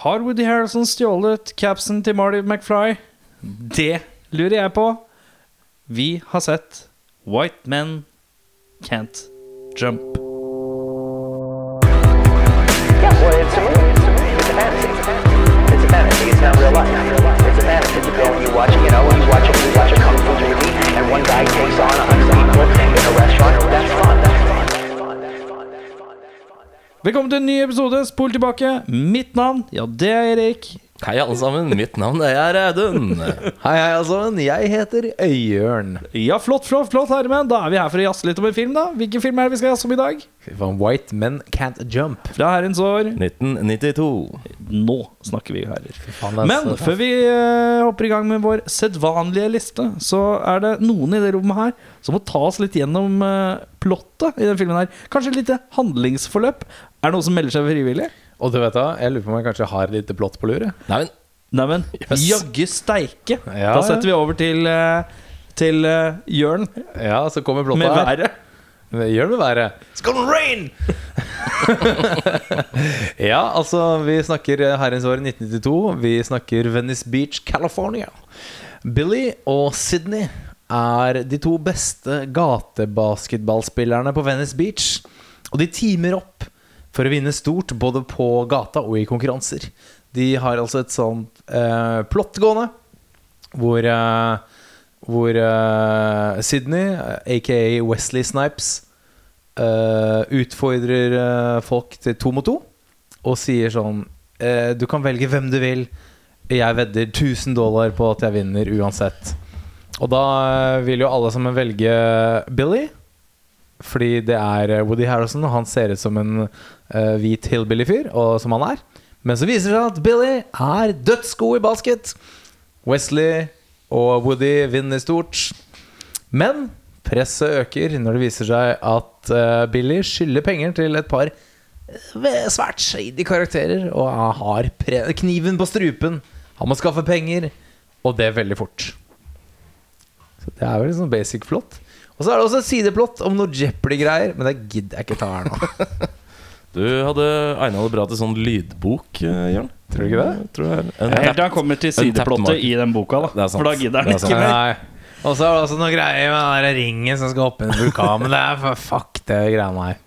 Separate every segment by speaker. Speaker 1: Har Woody Harrelson stjålet capsen til Marty McFly? Det lurer jeg på. Vi har sett White Men Can't Jump.
Speaker 2: Yeah, well, it's a movie. It's a movie. It's a fantasy. It's a fantasy. It's not real life. It's a fantasy. It's a film you watch. You know, you watch a you watch a kung fu movie, and one guy takes on a hundred people in a restaurant. That's fun. That's fun. That's fun. That's fun. That's fun. That's fun.
Speaker 1: Velkommen til en ny episode. Spol tilbake. Mitt navn, ja, det er Erik.
Speaker 3: Hei alle sammen, mitt navn er Audun
Speaker 4: Hei, hei alle sammen. Jeg heter Øyjørn.
Speaker 1: Ja, flott, flott, flott, herremenn. Da er vi her for å jazze litt om en film, da. Hvilken film er det vi skal jazze om i dag?
Speaker 4: Fy faen, White men can't jump.
Speaker 1: Fra herrens år
Speaker 3: 1992
Speaker 1: Nå snakker vi herrer.
Speaker 4: faen, det er
Speaker 1: Men
Speaker 4: så-
Speaker 1: før vi eh, hopper i gang med vår sedvanlige liste, så er det noen i det rommet her som må ta oss litt gjennom eh, plottet i den filmen her. Kanskje et lite handlingsforløp. Er det noen som melder seg frivillig?
Speaker 4: Og du vet da, jeg lurer på om jeg kanskje har litt blått på lure.
Speaker 3: Nei, men
Speaker 1: Neimen,
Speaker 3: Yes.
Speaker 1: jaggu steike!
Speaker 4: Ja,
Speaker 1: da setter vi over til eh, til eh, Jørn
Speaker 4: Ja, så kommer blotta
Speaker 1: med været.
Speaker 4: her. Gjør det med været. It's gonna rain! ja, altså, vi snakker herrens år 1992. Vi snakker Venice Beach, California. Billy og Sydney er de to beste gatebasketballspillerne på Venice Beach. Og de teamer opp for å vinne stort både på gata og i konkurranser. De har altså et sånt eh, plott gående hvor, eh, hvor eh, Sydney, eh, aka Wesley Snipes, eh, utfordrer eh, folk til to mot to og sier sånn eh, Du kan velge hvem du vil. Jeg vedder 1000 dollar på at jeg vinner uansett. Og da eh, vil jo alle sammen velge Billy. Fordi det er eh, Woody Harrison, og han ser ut som en eh, hvit hillbilly-fyr, og som han er. Men så viser det seg at Billy er dødsgod i basket. Wesley og Woody vinner stort. Men presset øker når det viser seg at eh, Billy skylder penger til et par eh, svært shady karakterer, og han har pre kniven på strupen. Han må skaffe penger, og det veldig fort. Så Det er vel sånn basic flott. Og så er det også et sideplott om noe Jeopardy-greier, men det gidder jeg ikke ta her nå.
Speaker 3: du hadde egnet det bra til sånn lydbok, eh, Jørn
Speaker 4: Tror du ikke det?
Speaker 3: Tror jeg er en
Speaker 1: Helt til han kommer til
Speaker 3: Untapped
Speaker 1: sideplottet
Speaker 3: market.
Speaker 1: i den boka,
Speaker 3: Det
Speaker 1: da.
Speaker 3: er sant.
Speaker 1: For da gidder han
Speaker 3: Det er
Speaker 1: ikke mer.
Speaker 4: Nei. Og så er det også noe greier med den der ringen som skal opp i en vulkan. Men det er for fuck det greiene her.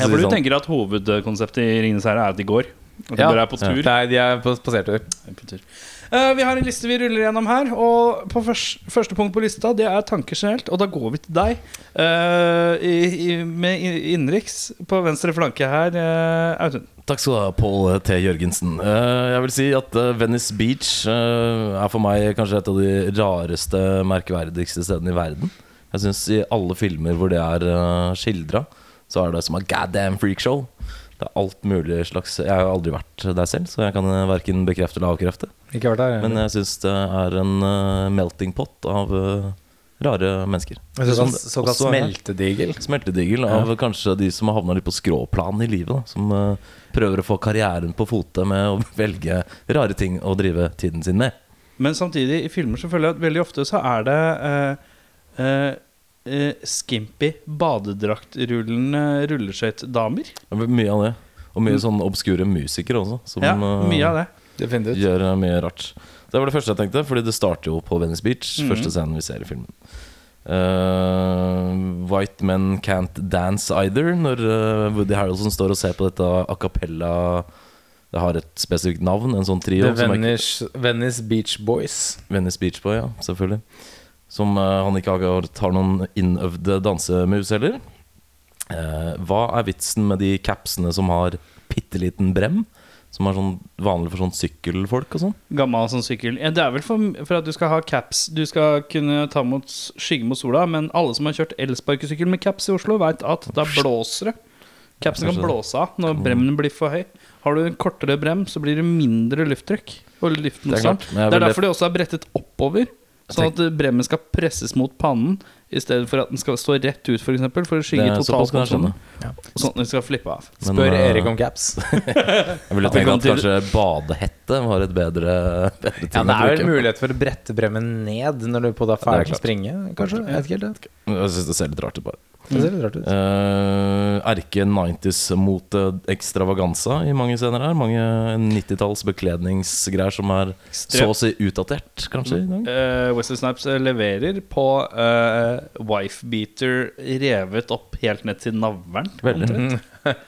Speaker 1: Ja, for du
Speaker 3: sånn.
Speaker 1: tenker at hovedkonseptet i Ringenes herre er at de går? At de
Speaker 4: Ja.
Speaker 1: bare er på tur?
Speaker 4: Nei, de er på spasertur.
Speaker 1: på tur. Eh, vi har en liste vi ruller gjennom her, og på først, første punkt på lista det er tanker generelt. Og da går vi til deg eh, i, i, med i- innenriks på venstre flanke her, eh, Audun.
Speaker 3: Takk skal du ha, Pål T. Jørgensen. Eh, Jeg vil si at eh, Venice Beach eh, er for meg kanskje et av de rareste, merkverdigste stedene i verden. Jeg syns i alle filmer hvor det er eh, skildra, så er det som et goddamn freakshow. Det er alt mulig slags Jeg har jo aldri vært der selv, så jeg kan verken bekrefte eller avkrefte.
Speaker 4: Ikke vært der.
Speaker 1: eh,
Speaker 3: Men jeg syns det er en eh, melting pot av eh, rare mennesker.
Speaker 1: sånn
Speaker 4: såkalt
Speaker 3: Som
Speaker 4: såkalt
Speaker 3: også er-
Speaker 4: smeltedigel.
Speaker 3: Smeltedigel av kanskje de som har havna litt på skråplan i livet. Da, som eh, prøver å få karrieren på fote med å velge rare ting å drive tiden sin med.
Speaker 1: Men samtidig, i filmer så føler jeg at veldig ofte så er det eh, eh, eh, skimpy badedraktrullende rulleskøytdamer.
Speaker 3: Mye av det. Og mye sånn obskure musikere også, som
Speaker 1: Mm. Ja,
Speaker 3: eh,
Speaker 1: mye av det.
Speaker 4: Definitivt.
Speaker 3: gjør eh, mye rart. Det var det første jeg tenkte, fordi det starter jo på Venice Beach.
Speaker 1: Mm.
Speaker 3: Første scenen vi ser i filmen. Eh, white Men Can't Dance Either, når eh, Woody Harrelson står og ser på dette a cappella Det har et spesifikt navn, en sånn trio.
Speaker 4: The
Speaker 3: som jeg ikke-
Speaker 4: Venice, Venice Beach Boys.
Speaker 3: Venice Beach Boy, ja, selvfølgelig. Som eh, han ikke akkurat har noen innøvde dansemoves heller. Eh, hva er vitsen med de capsene som har bitte liten brem? Som er sånn vanlig for sånn sykkelfolk og sånn?
Speaker 1: Gammel sånn sykkel. Ja, det er vel for, for at du skal ha caps. Du skal kunne ta mot s- skygge mot sola, men alle som har kjørt elsparkesykkel med caps i Oslo, veit at da blåser det. Capsen kan
Speaker 3: Kanskje det.
Speaker 1: blåse av når bremmen blir for høy. Har du en kortere brem, så blir det mindre lufttrykk og luftmotstand.
Speaker 3: klart,
Speaker 1: Det
Speaker 3: men jeg
Speaker 1: er,
Speaker 3: vil det-
Speaker 1: derfor de også er brettet oppover, sånn at eh, bremmen skal presses mot pannen i stedet for at den skal stå rett ut, f.eks., for, eksempel, for å skygge
Speaker 3: Det- eh, såpass
Speaker 1: totalt
Speaker 3: kan
Speaker 1: mot
Speaker 3: jeg skjønne.
Speaker 1: solen. Sånn at den skal flippe av.
Speaker 3: Men,
Speaker 4: Spør
Speaker 3: eh,
Speaker 4: Erik om caps.
Speaker 3: Jeg ville
Speaker 1: at vi
Speaker 3: tenkt
Speaker 1: kom
Speaker 3: at
Speaker 1: til-
Speaker 3: kanskje badehette var et bedre, bedre ting.
Speaker 4: Ja,
Speaker 3: å
Speaker 4: det er vel
Speaker 3: bruke.
Speaker 4: mulighet for å brette bremmen ned når du på deg
Speaker 3: er
Speaker 4: ferdig
Speaker 3: klart.
Speaker 4: å springe, kanskje? Jeg vet ikke helt det.
Speaker 3: Jeg syns det ser litt rart ut, bare.
Speaker 4: Det ser litt rart ut.
Speaker 3: Eh, Erke 90s mot eh, ekstravaganza i mange scener her. Mange 90-talls bekledningsgreier som er så å si utdatert, kanskje. i dag
Speaker 1: Eh, Wesley Snipes eh, leverer på eh, wife-beater revet opp helt ned til navlen.
Speaker 3: Veldig.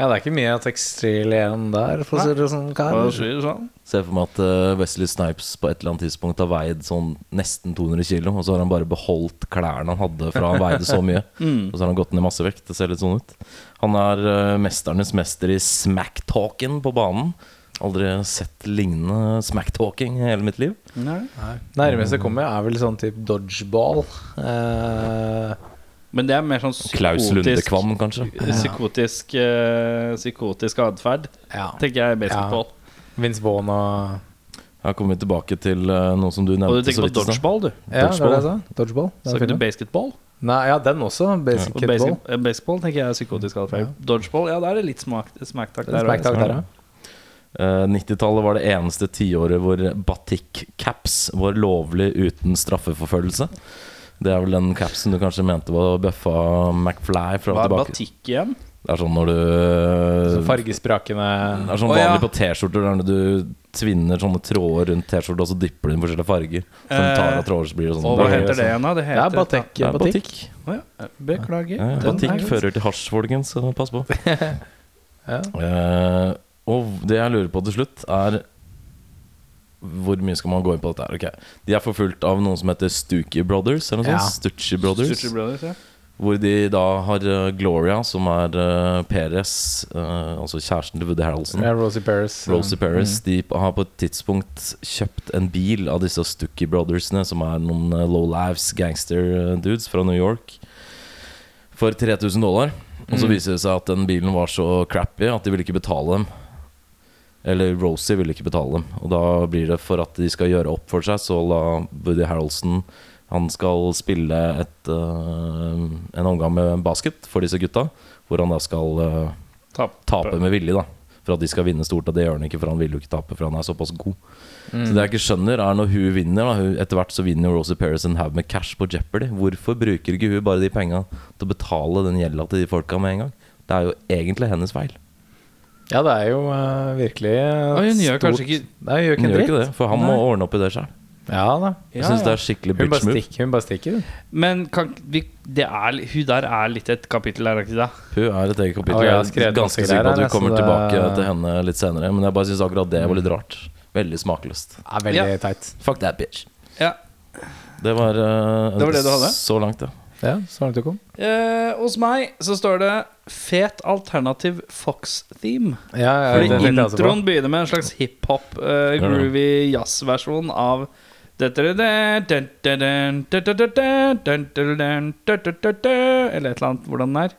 Speaker 4: Ja, det er ikke mye tekstil igjen der, for å si det sånn,
Speaker 1: Hva
Speaker 4: kar.
Speaker 1: sier du sånn?
Speaker 3: Ser for meg at eh, Wesley Snipes på et eller annet tidspunkt har veid sånn nesten 200 kilo, og så har han bare beholdt klærne han hadde fra han veide så mye.
Speaker 1: Mm.
Speaker 3: Og så har han gått ned masse vekt. Det ser litt sånn ut. Han er eh, mesternes mester i smacktalken på banen. Aldri sett lignende smacktalking i hele mitt liv.
Speaker 1: Nei.
Speaker 4: Nærmest jeg kommer, er vel sånn type dodgeball. Eh,
Speaker 1: Men det er mer sånn
Speaker 3: Klaus
Speaker 1: psykotisk
Speaker 3: Lundekvam, kanskje.
Speaker 1: Psykotisk eh, Psykotisk atferd,
Speaker 4: ja.
Speaker 1: tenker jeg
Speaker 4: Ja.
Speaker 1: basketball.
Speaker 4: Vince Vaughn og
Speaker 3: Her kommer vi tilbake til eh, noe som du nevnte.
Speaker 1: Og du
Speaker 3: så
Speaker 1: tenker på
Speaker 3: vidt i stad.
Speaker 1: dodgeball, du.
Speaker 4: Ja, det var det jeg
Speaker 3: Dodgeball.
Speaker 4: sa. Dodgeball. Den
Speaker 1: Sa ikke du
Speaker 4: filmen.
Speaker 1: basketball?
Speaker 4: Nei, ja, den også. Basic
Speaker 1: Og
Speaker 4: kidball.
Speaker 1: basic- eh, baseball tenker jeg er psykotisk atferd. Dodgeball, ja, da er det litt smak- smacktak
Speaker 4: Det er
Speaker 1: der
Speaker 4: smack talk der,
Speaker 1: også.
Speaker 4: ja.
Speaker 3: Eh, 90-tallet var det eneste tiåret hvor batikk-caps var lovlig uten straffeforfølgelse. Det er vel den capsen du kanskje mente var bøffa McFly fra og
Speaker 1: Hva er
Speaker 3: tilbake.
Speaker 1: batikk igjen?
Speaker 3: Det er sånn når du
Speaker 4: Så
Speaker 3: Det
Speaker 4: fargesprakende
Speaker 3: er sånn
Speaker 4: Å, ja.
Speaker 3: vanlig på T-skjorter der du tvinner sånne tråder rundt T-skjorta, og så dypper du inn forskjellige farger. Så når du tar av tråder, så blir det sånn.
Speaker 1: Eh, Og hva heter det igjen, da? Det
Speaker 4: Det er
Speaker 1: heter
Speaker 4: batikk.
Speaker 3: Det er
Speaker 4: batikk.
Speaker 3: batikk.
Speaker 1: Å ja, Beklager.
Speaker 3: Ja, ja,
Speaker 1: Den er
Speaker 3: Batikk
Speaker 1: jo-
Speaker 3: fører til hasj, folkens. Så pass på.
Speaker 4: Ja.
Speaker 3: Eh, og det jeg lurer på til slutt, er hvor mye skal man gå inn på dette? her? Ok, De er forfulgt av noen som heter Stucky Brothers. Eller noe
Speaker 4: Ja.
Speaker 3: sånt. Stucci Brothers,
Speaker 1: Stucci Brothers, ja.
Speaker 3: Hvor de da har eh, Gloria, som er uh, Perez, eh, altså kjæresten til Woody Harrelson.
Speaker 4: Ja, Mm. Rosie Paris.
Speaker 3: Rosie Perez de har på et tidspunkt kjøpt en bil av disse Stucky Brothersene, som er noen eh, lowlives gangster-dudes eh, fra New York, for 3000 dollar. Og
Speaker 4: Mm.
Speaker 3: så viser det seg at den bilen var så crappy at de ville ikke betale dem. Eller Rosie ville ikke betale dem. Og da blir det for at de skal gjøre opp for seg, så la Woody Harrelson han skal spille et, eh, en omgang med basket for disse gutta, hvor han da skal eh,
Speaker 1: Tap.
Speaker 3: tape med vilje, da. For at de skal vinne stort. Og det gjør han ikke, for han vil jo ikke tape, for han er såpass god.
Speaker 1: Mm.
Speaker 3: Så det jeg ikke skjønner, er når hun vinner, da hun, etter hvert så vinner Rosie Perez en haug med cash på Jeopardy. Hvorfor bruker ikke hun bare de penga til å betale den gjelda til de folka med en gang? Det er jo egentlig hennes feil.
Speaker 4: Ja, det er jo eh, virkelig
Speaker 1: hun
Speaker 4: et
Speaker 1: gjør kanskje ikke-
Speaker 4: Nei, hun Mm. gjør ikke
Speaker 3: Hun
Speaker 4: en
Speaker 3: gjør
Speaker 4: dritt.
Speaker 3: ikke det, for han må ordne opp i det sjøl.
Speaker 4: Ja da.
Speaker 3: Jeg
Speaker 1: Ja,
Speaker 3: syns det
Speaker 1: ja.
Speaker 3: er skikkelig
Speaker 4: Hun
Speaker 3: bitch
Speaker 4: bare
Speaker 3: move.
Speaker 4: stikker, hun bare stikker. hun.
Speaker 1: Men kan, vi, det er, hun der er litt et kapittel her, er ikke det?
Speaker 3: Hun er et eget kapittel.
Speaker 4: Å, jeg
Speaker 3: jeg
Speaker 4: har
Speaker 3: er
Speaker 4: skrevet masse
Speaker 3: ganske sikker på
Speaker 4: greier
Speaker 3: at
Speaker 4: her,
Speaker 3: vi kommer
Speaker 4: så det-
Speaker 3: tilbake til henne litt senere. Men jeg bare syns akkurat det var litt rart. Veldig smakløst.
Speaker 4: Ja, veldig
Speaker 1: Ja.
Speaker 4: teit.
Speaker 3: Fuck that bitch.
Speaker 1: Ja.
Speaker 3: Det var, eh,
Speaker 1: Det var det du hadde?
Speaker 3: så langt, ja.
Speaker 4: Ja, så langt du kom.
Speaker 1: Eh, hos meg så står det 'fet alternativ Fox-theme'.
Speaker 4: Ja, ja,
Speaker 1: Fordi
Speaker 4: det altså tenkte jeg også på.
Speaker 1: introen begynner med en slags hiphop, eh,
Speaker 3: Ja.
Speaker 1: groovy jazzversjon av Eller et eller annet, hvordan den er.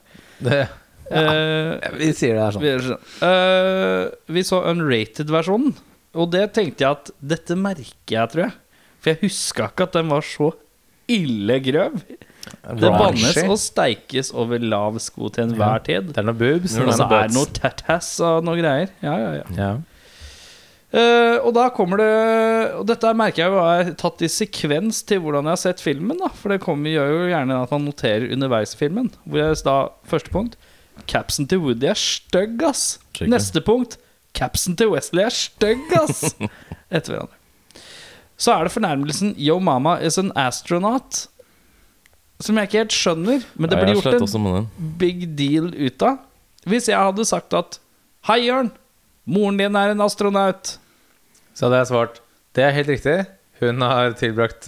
Speaker 4: Det,
Speaker 1: Eh,
Speaker 4: vi sier det er sånn.
Speaker 1: vi, gjør sånn. Eh, vi så unrated-versjonen, og det tenkte jeg at Dette merker jeg, tror jeg. For jeg huska ikke at den var så ille grøv. Det bannes
Speaker 4: Raunchy.
Speaker 1: og steikes over lav sko til enhver tid.
Speaker 4: Det er noe boobs.
Speaker 1: Og
Speaker 4: det
Speaker 1: så er det
Speaker 4: noe
Speaker 1: noe tattass og noe greier. Ja, ja, ja.
Speaker 4: butts. ja.
Speaker 1: Eh, og da kommer det Og dette merker jeg jo er tatt i sekvens til hvordan jeg har sett filmen. da For det kommer, gjør jo gjerne at man noterer underveis i filmen. Hvor jeg da, Første punkt Capsen til Woody er stygg, ass.
Speaker 3: Skikkelig.
Speaker 1: Neste punkt Capsen til Wesley er stygg, ass. Etter hverandre. Så er det fornærmelsen Yo mama is an astronaut. Som jeg ikke helt skjønner, men det
Speaker 3: Ja,
Speaker 1: blir
Speaker 3: jeg slet
Speaker 1: gjort
Speaker 3: også
Speaker 1: en
Speaker 3: med den.
Speaker 1: big deal ut av. Hvis jeg hadde sagt at Hei, Jørn. Moren din er en astronaut.
Speaker 4: Så hadde jeg svart Det er helt riktig. Hun har tilbrakt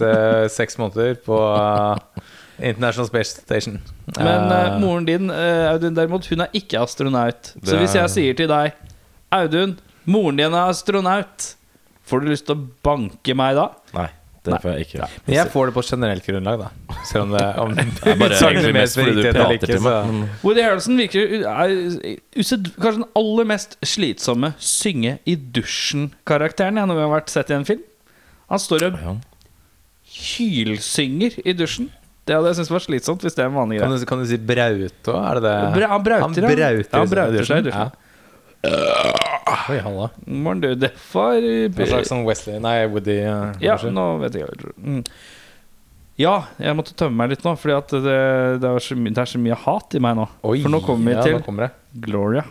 Speaker 4: eh, seks måneder på eh, International Space Station.
Speaker 1: Men
Speaker 4: Eh,
Speaker 1: eh, moren din, eh, Audun, derimot, hun er ikke astronaut. Så
Speaker 3: Det
Speaker 1: hvis
Speaker 3: er-
Speaker 1: jeg sier til deg Audun, moren din er astronaut, får du lyst til å banke meg da?
Speaker 3: Nei, det får jeg ikke.
Speaker 4: Men jeg får det på generelt grunnlag, da. Selv om det om,
Speaker 3: Det er bare
Speaker 4: utsagnet
Speaker 3: egentlig
Speaker 4: mer
Speaker 3: mest fordi du
Speaker 4: riktig eller
Speaker 3: prater
Speaker 4: ikke,
Speaker 3: til meg.
Speaker 4: så-
Speaker 3: men-
Speaker 1: Woody Harrelson virker u- er used- kanskje den aller mest slitsomme synge i dusjen-karakteren jeg noen gang har vært sett i en film. Han står og
Speaker 3: Ja.
Speaker 1: hylsynger i dusjen. Det hadde jeg syntes var slitsomt hvis det er en vanlig
Speaker 4: Kan
Speaker 1: greie.
Speaker 4: du, kan du si braute òg? Er det det?
Speaker 1: Bra- han brauter,
Speaker 4: han
Speaker 1: ja.
Speaker 4: brauter,
Speaker 1: Ja, han brauter seg i dusjen.
Speaker 4: Ja. Oi, halla.
Speaker 1: Morn, du, det var
Speaker 4: En slags sånn Wesley Nei, Woody. eh,
Speaker 1: Ja,
Speaker 4: kanskje.
Speaker 1: nå vet jeg hva jeg tror. Mm. Ja, jeg måtte tømme meg litt nå, Fordi at det, det, er, så mye, det er så mye hat i meg nå. For nå kommer vi
Speaker 4: ja,
Speaker 1: til
Speaker 4: nå kommer det.
Speaker 1: Gloria.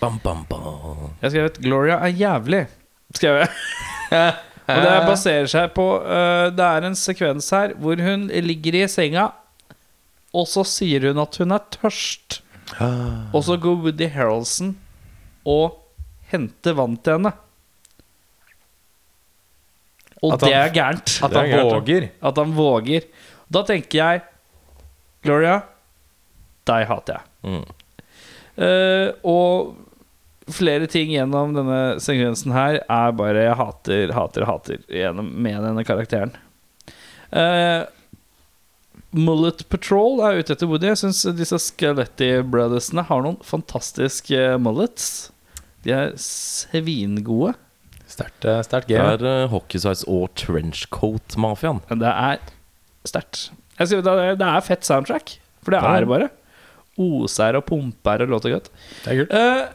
Speaker 3: Bam, bam, bam.
Speaker 1: Jeg skrev et 'Gloria er jævlig'. Skrev jeg. Og det baserer seg på øh, Det er en sekvens her hvor hun ligger i senga, og så sier hun at hun er tørst.
Speaker 3: Ah.
Speaker 1: Og så går Woody Harroldson og henter vann til henne. Og
Speaker 4: At han-
Speaker 1: det er gærent.
Speaker 4: At han
Speaker 1: Det er gærent, ja.
Speaker 4: våger.
Speaker 1: At han våger. Da tenker jeg Gloria, deg hater jeg.
Speaker 3: Mm.
Speaker 1: Eh, og flere ting gjennom denne sekvensen her er bare jeg hater, hater, hater gjennom, med denne karakteren. Eh, Mullet Patrol er ute etter Woody. Jeg syns disse Skeletti Brothersene har noen fantastiske mullets. De er svingode.
Speaker 4: Sterkt eh, sterkt
Speaker 3: Det
Speaker 4: game.
Speaker 3: er uh, hockeysveis og trenchcoat-mafiaen.
Speaker 1: Men det er sterkt. Jeg sier Det er- det er fett soundtrack, for det
Speaker 3: Ja.
Speaker 1: er bare. Oser og pumper og låter godt.
Speaker 4: Det er kult.
Speaker 1: Eh,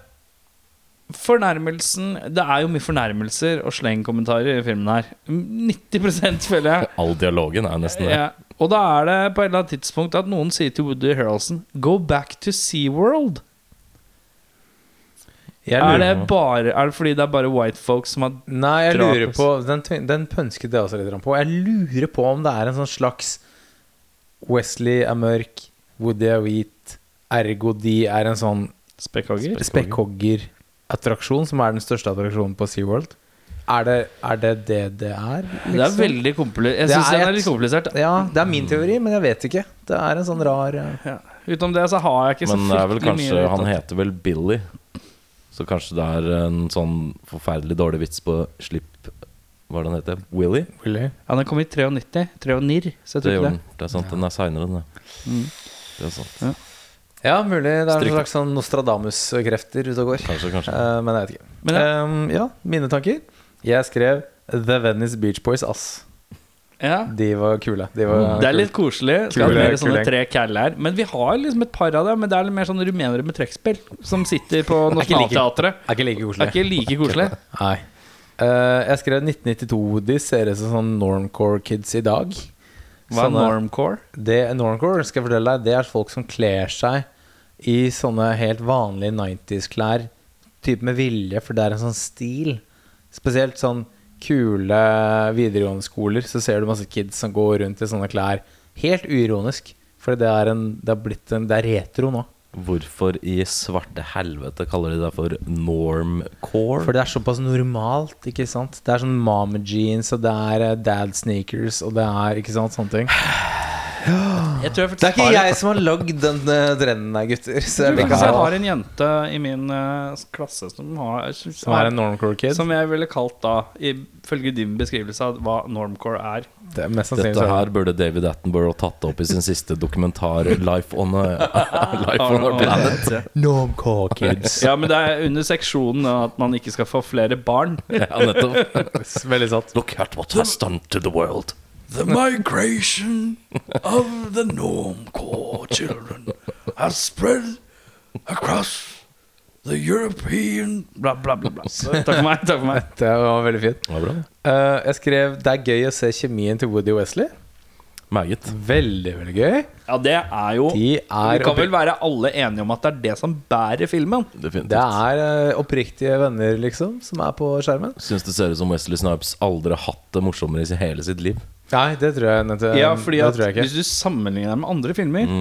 Speaker 1: fornærmelsen Det er jo mye fornærmelser og slengkommentarer i filmen her. 90 føler jeg.
Speaker 3: All dialogen er nesten det.
Speaker 1: Ja. Og da er det på et eller annet tidspunkt at noen sier til Woody Harrelson Go back to SeaWorld.
Speaker 4: Jeg
Speaker 1: Er
Speaker 4: lurer
Speaker 1: det,
Speaker 4: på-
Speaker 1: bare, er det fordi det er bare white folk som har
Speaker 4: Nei, jeg
Speaker 1: Drapes.
Speaker 4: lurer på Den, tv- den pønsket jeg også litt grann på. Jeg lurer på om det er en sånn slags Wesley er mørk, Woody er hvit, ergo de er en sånn
Speaker 1: spekkhogger?
Speaker 4: spekkhoggerattraksjon som er den største attraksjonen på SeaWorld. Er det er det, det det er? liksom?
Speaker 1: Det er veldig komplisert. Jeg
Speaker 4: Det
Speaker 1: synes
Speaker 4: er
Speaker 1: den
Speaker 4: et-
Speaker 1: er litt komplisert.
Speaker 4: Ja, det er min teori, men jeg vet ikke. Det er en sånn rar eh,
Speaker 1: Ja. Utenom det så har jeg ikke så
Speaker 3: Men det er vel
Speaker 1: fryktelig
Speaker 3: kanskje
Speaker 1: mye
Speaker 3: Han
Speaker 1: uttatt.
Speaker 3: heter vel Billy. Så kanskje det er en sånn forferdelig dårlig vits på slipp Hva er det han heter? Willy?
Speaker 1: Ja, den kom i 93. 93, så jeg
Speaker 3: Det
Speaker 1: tror
Speaker 3: gjorde
Speaker 1: ikke
Speaker 3: den.
Speaker 1: det.
Speaker 3: Det er sant, den er seinere, den. ja. Det er sant.
Speaker 4: Ja, mulig det er
Speaker 3: Stryk
Speaker 4: en
Speaker 3: det.
Speaker 4: slags sånn Nostradamus-krefter ute og går.
Speaker 3: Kanskje, kanskje.
Speaker 4: Eh, men jeg vet ikke.
Speaker 1: Men
Speaker 4: Ehm, ja, mine tanker. Jeg skrev The Venice Beach Boys, ass.
Speaker 1: Ja.
Speaker 4: De var kule. De var
Speaker 1: Det er
Speaker 4: kule.
Speaker 1: litt koselig. Skal
Speaker 4: Kule-
Speaker 1: ha mer
Speaker 4: kule
Speaker 1: sånne
Speaker 4: eh, gjeng.
Speaker 1: tre kæller. Men vi har liksom et par av dem. Men det er litt mer sånn rumenere med trekkspill som sitter på
Speaker 4: Er ikke like-
Speaker 1: Nationaltheatret.
Speaker 4: Er ikke like
Speaker 1: Det
Speaker 4: koselig.
Speaker 1: er ikke like koselig.
Speaker 4: Nei. Eh, jeg skrev 1992-Woody ser ut som sånn normcore kids i dag.
Speaker 1: Hva er
Speaker 4: Sånne-
Speaker 1: normcore?
Speaker 4: Det normcore skal jeg fortelle deg, det er folk som kler seg i sånne helt vanlige 90s-klær. Type med vilje, for det er en sånn stil. Spesielt sånn kule videregående skoler, så ser du masse kids som går rundt i sånne klær. Helt uironisk, for det er, en, det er blitt en Det er retro nå.
Speaker 3: Hvorfor i svarte helvete kaller de det for normcore?
Speaker 4: For det er såpass normalt, ikke sant? Det er sånn mama jeans, og det er eh, dad sneakers, og det er ikke sant, sånne ting.
Speaker 1: Jeg tror jeg
Speaker 4: Det er
Speaker 1: faktisk
Speaker 4: ikke
Speaker 1: har
Speaker 4: jeg som har lagd den eh, trenden her, gutter. Så
Speaker 1: jeg
Speaker 4: jeg vil
Speaker 1: tror
Speaker 4: ikke
Speaker 1: faktisk
Speaker 4: ha
Speaker 1: jeg har en jente i min eh, klasse som, har,
Speaker 4: Som er en normcore kid.
Speaker 1: som jeg ville kalt da, ifølge din beskrivelse av hva normcore er.
Speaker 4: det er mest sannsynlig
Speaker 3: Dette
Speaker 4: så er
Speaker 3: her burde David Attenborough tatt opp i sin siste dokumentar, 'Life on, a, Life on Our Planet'.
Speaker 4: det normcore kids.
Speaker 1: Ja, men det er under seksjonen at man ikke skal få flere barn.
Speaker 3: Ja, nettopp.
Speaker 4: Veldig sant.
Speaker 3: Look at what has done to the world.
Speaker 5: The migration of the Normcore children has spread across the European
Speaker 1: Bla, bla, bla. bla. Så, Takk for meg. Takk for meg.
Speaker 4: Det var veldig fint.
Speaker 3: Det var bra.
Speaker 4: Eh, jeg skrev 'Det er gøy å se kjemien til Woody og Wesley'.
Speaker 3: Meget.
Speaker 4: Veldig, veldig gøy.
Speaker 1: Ja, det er jo
Speaker 4: De er
Speaker 1: Vi kan vel
Speaker 4: oppri-
Speaker 1: være alle enige om at det er det som bærer filmen.
Speaker 4: Det
Speaker 3: Definitivt.
Speaker 4: er eh, oppriktige venner, liksom, som er på skjermen.
Speaker 3: Syns det ser ut som Wesley Snipes aldri har hatt det morsommere i hele sitt liv.
Speaker 4: Nei, det tror jeg, Nette,
Speaker 1: Ja, fordi
Speaker 4: det
Speaker 1: at
Speaker 4: tror jeg
Speaker 1: Hvis
Speaker 4: ikke. Mm,
Speaker 1: du sammenligner det med andre filmer,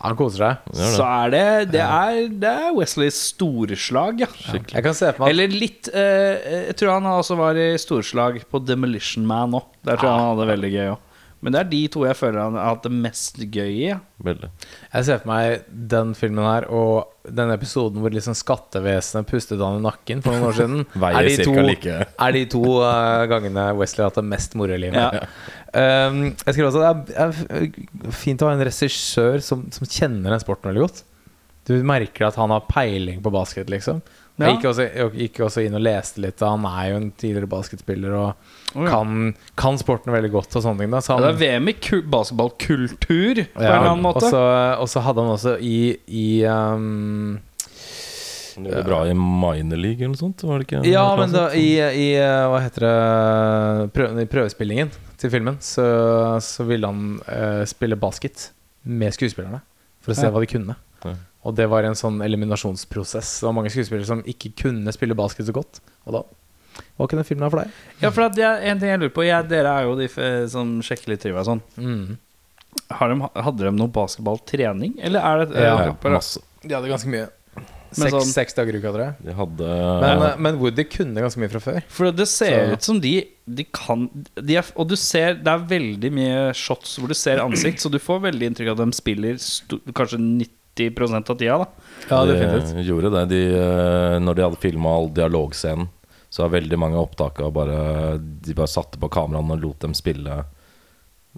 Speaker 4: Han koser seg.
Speaker 3: gjør det.
Speaker 1: så er det Det er, det er Wesleys storslag, ja.
Speaker 4: Jeg kan se for meg at-
Speaker 1: Eller litt eh, Jeg tror han også var i storslag på Demolition Man òg. Der tror jeg han hadde det veldig gøy òg. Men det er de to jeg føler han har hatt det mest gøy i. ja.
Speaker 3: Veldig.
Speaker 4: Jeg ser for meg den filmen her og den episoden hvor liksom skattevesenet pustet han i nakken for noen år siden.
Speaker 3: Veier
Speaker 4: er de
Speaker 3: cirka
Speaker 4: to,
Speaker 3: like.
Speaker 4: er de to eh, gangene Wesley har hatt det mest moro i livet.
Speaker 1: Ja.
Speaker 4: Um, jeg skrev også at det er, er fint å ha en regissør som, som kjenner den sporten veldig godt. Du merker at han har peiling på basket, liksom. Jeg
Speaker 1: Ja.
Speaker 4: gikk også, jeg gikk også inn og leste litt. Han er jo en tidligere basketspiller og
Speaker 1: Å, ja.
Speaker 4: kan, kan sporten veldig godt og sånne ting. Da. Så
Speaker 1: Ja,
Speaker 4: han,
Speaker 1: det er VM i ku- basketballkultur, på en
Speaker 4: ja,
Speaker 1: eller annen måte.
Speaker 4: Og så, og så hadde han også i, i um,
Speaker 3: Han gjorde det bra i minor league eller noe sånt? Var det ikke
Speaker 4: Ja, men da, i, i eh, hva heter det prøv, I prøvespillingen til filmen så, så ville han eh, spille basket med skuespillerne for å se
Speaker 1: Ja.
Speaker 4: hva de kunne.
Speaker 3: Ja.
Speaker 4: Og det var en sånn eliminasjonsprosess. Det var mange skuespillere som ikke kunne spille basket så godt. Og da var ikke den filmen her for deg.
Speaker 1: Ja, for at jeg, en ting jeg lurer på jeg, Dere er jo de eh, som sjekker litt trivia og sånn.
Speaker 3: Mm.
Speaker 1: Har de, hadde de noe basketballtrening, eller er det
Speaker 4: Ja,
Speaker 1: eh,
Speaker 3: ja,
Speaker 1: bare-
Speaker 3: masse.
Speaker 4: De hadde ganske mye.
Speaker 1: Men
Speaker 4: Seks,
Speaker 1: sånn-
Speaker 4: seks dager i uka, tror jeg.
Speaker 3: De hadde
Speaker 4: Men, eh, men Woody kunne ganske mye fra før.
Speaker 1: For det ser
Speaker 4: Så-
Speaker 1: ut som de, de kan de er, Og du ser, det er veldig mye shots hvor du ser ansikt, så du får veldig inntrykk av at de spiller sto, kanskje 90 av tida. da
Speaker 4: Ja,
Speaker 3: de
Speaker 4: definitivt.
Speaker 3: gjorde det. De, eh, når de hadde filma all dialogscenen, så var veldig mange opptak av bare De bare satte på kameraene og lot dem spille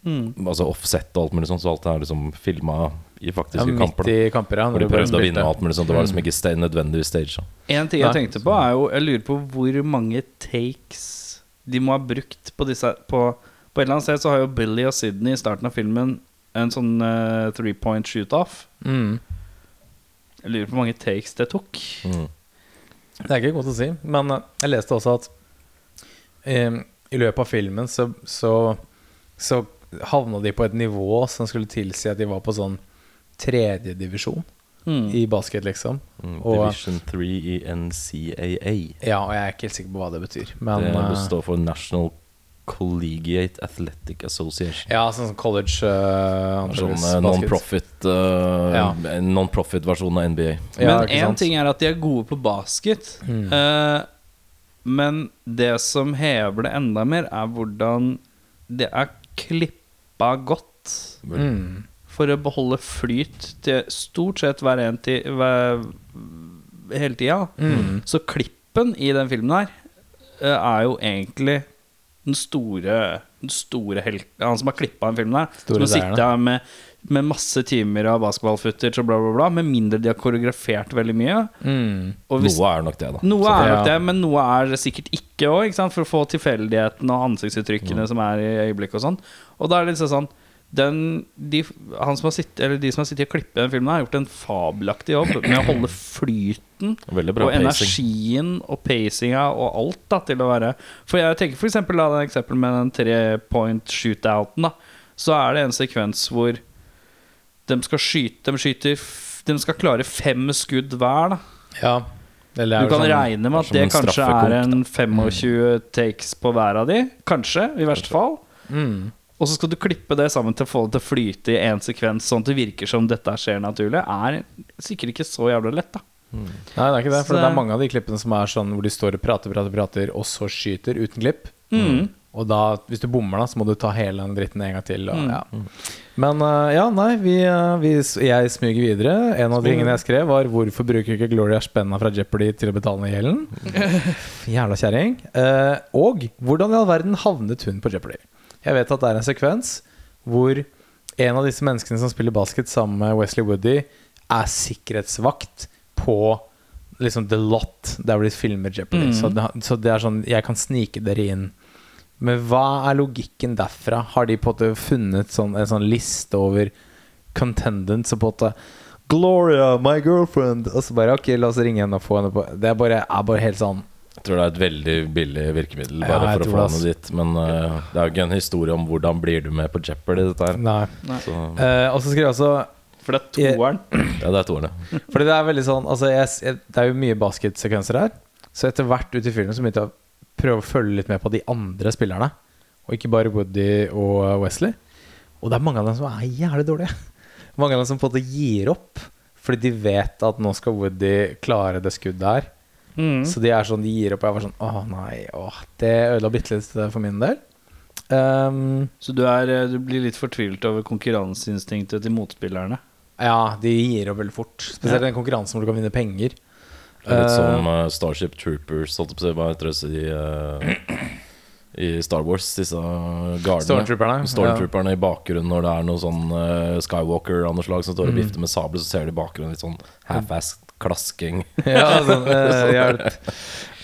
Speaker 3: Altså offset og alt mulig sånt, så alt det er liksom filma i
Speaker 4: Mm. Ja,
Speaker 3: faktiske
Speaker 4: midt
Speaker 3: kamper.
Speaker 4: i
Speaker 3: da.
Speaker 4: kamper, ja. når
Speaker 3: Hvor de
Speaker 4: bare
Speaker 3: prøvde å
Speaker 4: spilte.
Speaker 3: vinne og alt mulig sånt. Det var
Speaker 4: Mm.
Speaker 3: liksom ikke sta- nødvendigvis staged.
Speaker 1: En ting jeg
Speaker 4: Nei.
Speaker 1: tenkte på, er jo Jeg lurer på hvor mange takes de må ha brukt på disse På, på et eller annet sted så har jo Billy og Sydney i starten av filmen en sånn eh, three point shoot-off.
Speaker 4: Mm.
Speaker 1: Jeg lurer på hvor mange takes det tok.
Speaker 3: Mm.
Speaker 4: Det er ikke godt å si, men eh, jeg leste også at eh, i løpet av filmen så, så, så havna de på et nivå som skulle tilsi at de var på sånn tredjedivisjon
Speaker 1: Mm.
Speaker 4: i basket, liksom.
Speaker 3: Mm.
Speaker 4: Og,
Speaker 3: Division 3 i NCAA.
Speaker 4: ja, og jeg er ikke helt sikker på hva det betyr, men
Speaker 3: det
Speaker 4: eh,
Speaker 3: består for National Collegiate Athletic Association.
Speaker 4: Ja, sånn som college uh,
Speaker 3: Sånn eh, non-profit eh,
Speaker 4: Ja.
Speaker 3: en non-profit-versjon av NBA.
Speaker 1: men én ting er at de er gode på basket. eh, men det som hever det enda mer, er hvordan det er klippa godt
Speaker 4: mm.
Speaker 1: for å beholde flyt til stort sett hver en ti, hver, hele tida.
Speaker 4: Mm.
Speaker 1: Så klippen i den filmen her eh, er jo egentlig den store, den store helten Han som har klippa den filmen her.
Speaker 4: Store
Speaker 1: som har
Speaker 4: seierne.
Speaker 1: sittet her med, med masse timer av basketballfootage og bla, bla, bla. Med mindre de har koreografert veldig mye.
Speaker 4: Mm.
Speaker 1: Og hvis,
Speaker 3: Noe er nok det, da.
Speaker 1: noe
Speaker 4: Så-
Speaker 1: er nok
Speaker 4: ja.
Speaker 1: det, men noe er det sikkert ikke òg. For å få tilfeldigheten og ansiktsuttrykkene som er i øyeblikket og sånn. Og da er det liksom sånn den, de, han som har sitt, eller de som har sittet og klippet den filmen, her, har gjort en fabelaktig jobb med å holde flyten
Speaker 3: Veldig bra
Speaker 1: og
Speaker 3: pacing.
Speaker 1: energien og pacinga og alt da til å være For jeg tenker for eksempel da, det eksempelet med den tre point shootouten, da. Så er det en sekvens hvor de skal skyte De skyter f- De skal klare fem skudd hver, da.
Speaker 4: Ja. Eller
Speaker 1: Du
Speaker 4: er det
Speaker 1: kan
Speaker 4: sånn-
Speaker 1: regne med at
Speaker 3: som
Speaker 1: det
Speaker 3: en
Speaker 1: kanskje
Speaker 3: straffekonk,
Speaker 1: er en 25 takes på hver av de. Kanskje, i verste fall.
Speaker 4: Mm.
Speaker 1: Og så skal du klippe det sammen til å få det til å flyte i én sekvens, sånn at det virker som dette skjer naturlig. Er sikkert ikke så jævla lett, da.
Speaker 4: Nei, det er ikke det. For
Speaker 1: Så-
Speaker 4: det er mange av de klippene som er sånn hvor de står og prater, prater, prater, og så skyter uten klipp. Og da, hvis du bommer, da, så må du ta hele den dritten en gang til. Og, ja. Men eh, ja, nei, vi, eh, vi, jeg smyger videre. En av tingene jeg skrev, var 'Hvorfor bruker ikke Gloria spenna fra Jeopardy til å betale ned gjelden?' Jævla kjerring. Eh, og 'Hvordan i all verden havnet hun på Jeopardy?' Jeg vet at det er en sekvens hvor en av disse menneskene som spiller basket sammen med Wesley Woody, er sikkerhetsvakt på liksom The Lot, der hvor de filmer Jeopardy. Så, det, så det er sånn Jeg kan snike dere inn. Men hva er logikken derfra? Har de på en måte funnet sånn, en sånn liste over contendents og på en måte Gloria, my girlfriend Og så bare ok, la oss ringe henne og få henne på Det er bare, er bare helt sånn
Speaker 3: Jeg tror det er et veldig billig virkemiddel
Speaker 4: Ja,
Speaker 3: bare
Speaker 4: jeg
Speaker 3: for å
Speaker 4: tror
Speaker 3: få
Speaker 4: det,
Speaker 3: noe dit. Men eh, det er jo ikke en historie om hvordan blir du med på Jeopardy, dette her.
Speaker 4: Nei.
Speaker 3: Så,
Speaker 4: Eh, og så skrev jeg også
Speaker 1: For det er toeren.
Speaker 3: ja, det er et ord, det.
Speaker 4: Fordi det er veldig sånn altså jeg, jeg, Det er jo mye basketsekvenser her. Så etter hvert ute i filmen så begynte jeg å prøve å følge litt med på de andre spillerne. Og ikke bare Woody og eh, Wesley. Og det er mange av dem som er jævlig dårlige. Mange av dem som på en måte gir opp. Fordi de vet at nå skal Woody klare det skuddet her. Så de er sånn, de gir opp. Og jeg var sånn Åh, nei. Åh, det ødela bitte litt for min del. Ehm,
Speaker 1: Så du, er, eh, du blir litt fortvilt over konkurranseinstinktet til motspillerne.
Speaker 4: ja, de gir opp veldig fort. Spesielt den konkurransen hvor du kan vinne penger.
Speaker 3: Det er Litt
Speaker 4: Eh,
Speaker 3: som eh, Starship Troopers, holdt jeg på å si. Hva heter det i, eh, i Star Wars? Disse gardene.
Speaker 4: Stormtrooperne, ja.
Speaker 3: Stormtrooperne i bakgrunnen når det er noe sånn eh, Skywalker av noe slag som
Speaker 4: Mm.
Speaker 3: står og vifter med sabel, så ser du i bakgrunnen litt sånn half-ass klasking.
Speaker 4: Ja, sånn, eh, hjelp.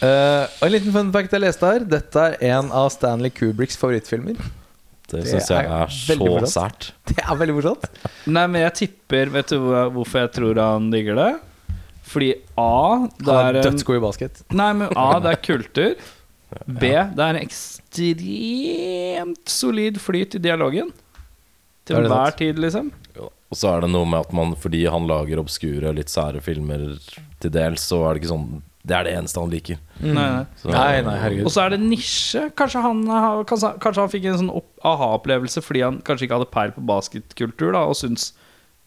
Speaker 4: Eh, og en liten fun fact jeg leste her. Dette er en av Stanley Kubricks favorittfilmer.
Speaker 3: Det
Speaker 4: Det
Speaker 3: syns
Speaker 4: er
Speaker 3: jeg er
Speaker 4: veldig
Speaker 3: så
Speaker 4: morsomt.
Speaker 3: sært.
Speaker 4: Det er veldig morsomt.
Speaker 1: Nei, men jeg tipper Vet du hva- hvorfor jeg tror han digger det? Fordi A det
Speaker 4: Han
Speaker 1: er
Speaker 4: er
Speaker 1: en,
Speaker 4: dødsgod i basket.
Speaker 1: Nei, men A det er kultur. B det er en ekstremt solid flyt i dialogen. Til
Speaker 4: Er det
Speaker 1: enhver
Speaker 4: sant?
Speaker 1: tid, liksom.
Speaker 3: Og så er det noe med at man, fordi han lager obskure, litt sære filmer til dels, så er det ikke sånn Det er det eneste han liker.
Speaker 4: Mm.
Speaker 1: Nei, nei.
Speaker 3: Så,
Speaker 4: Nei, nei, herregud.
Speaker 1: Og så er det nisje. Kanskje han, har- kanskje, kanskje han fikk en sånn opp- aha-opplevelse fordi han kanskje ikke hadde peil på basketkultur da, og syns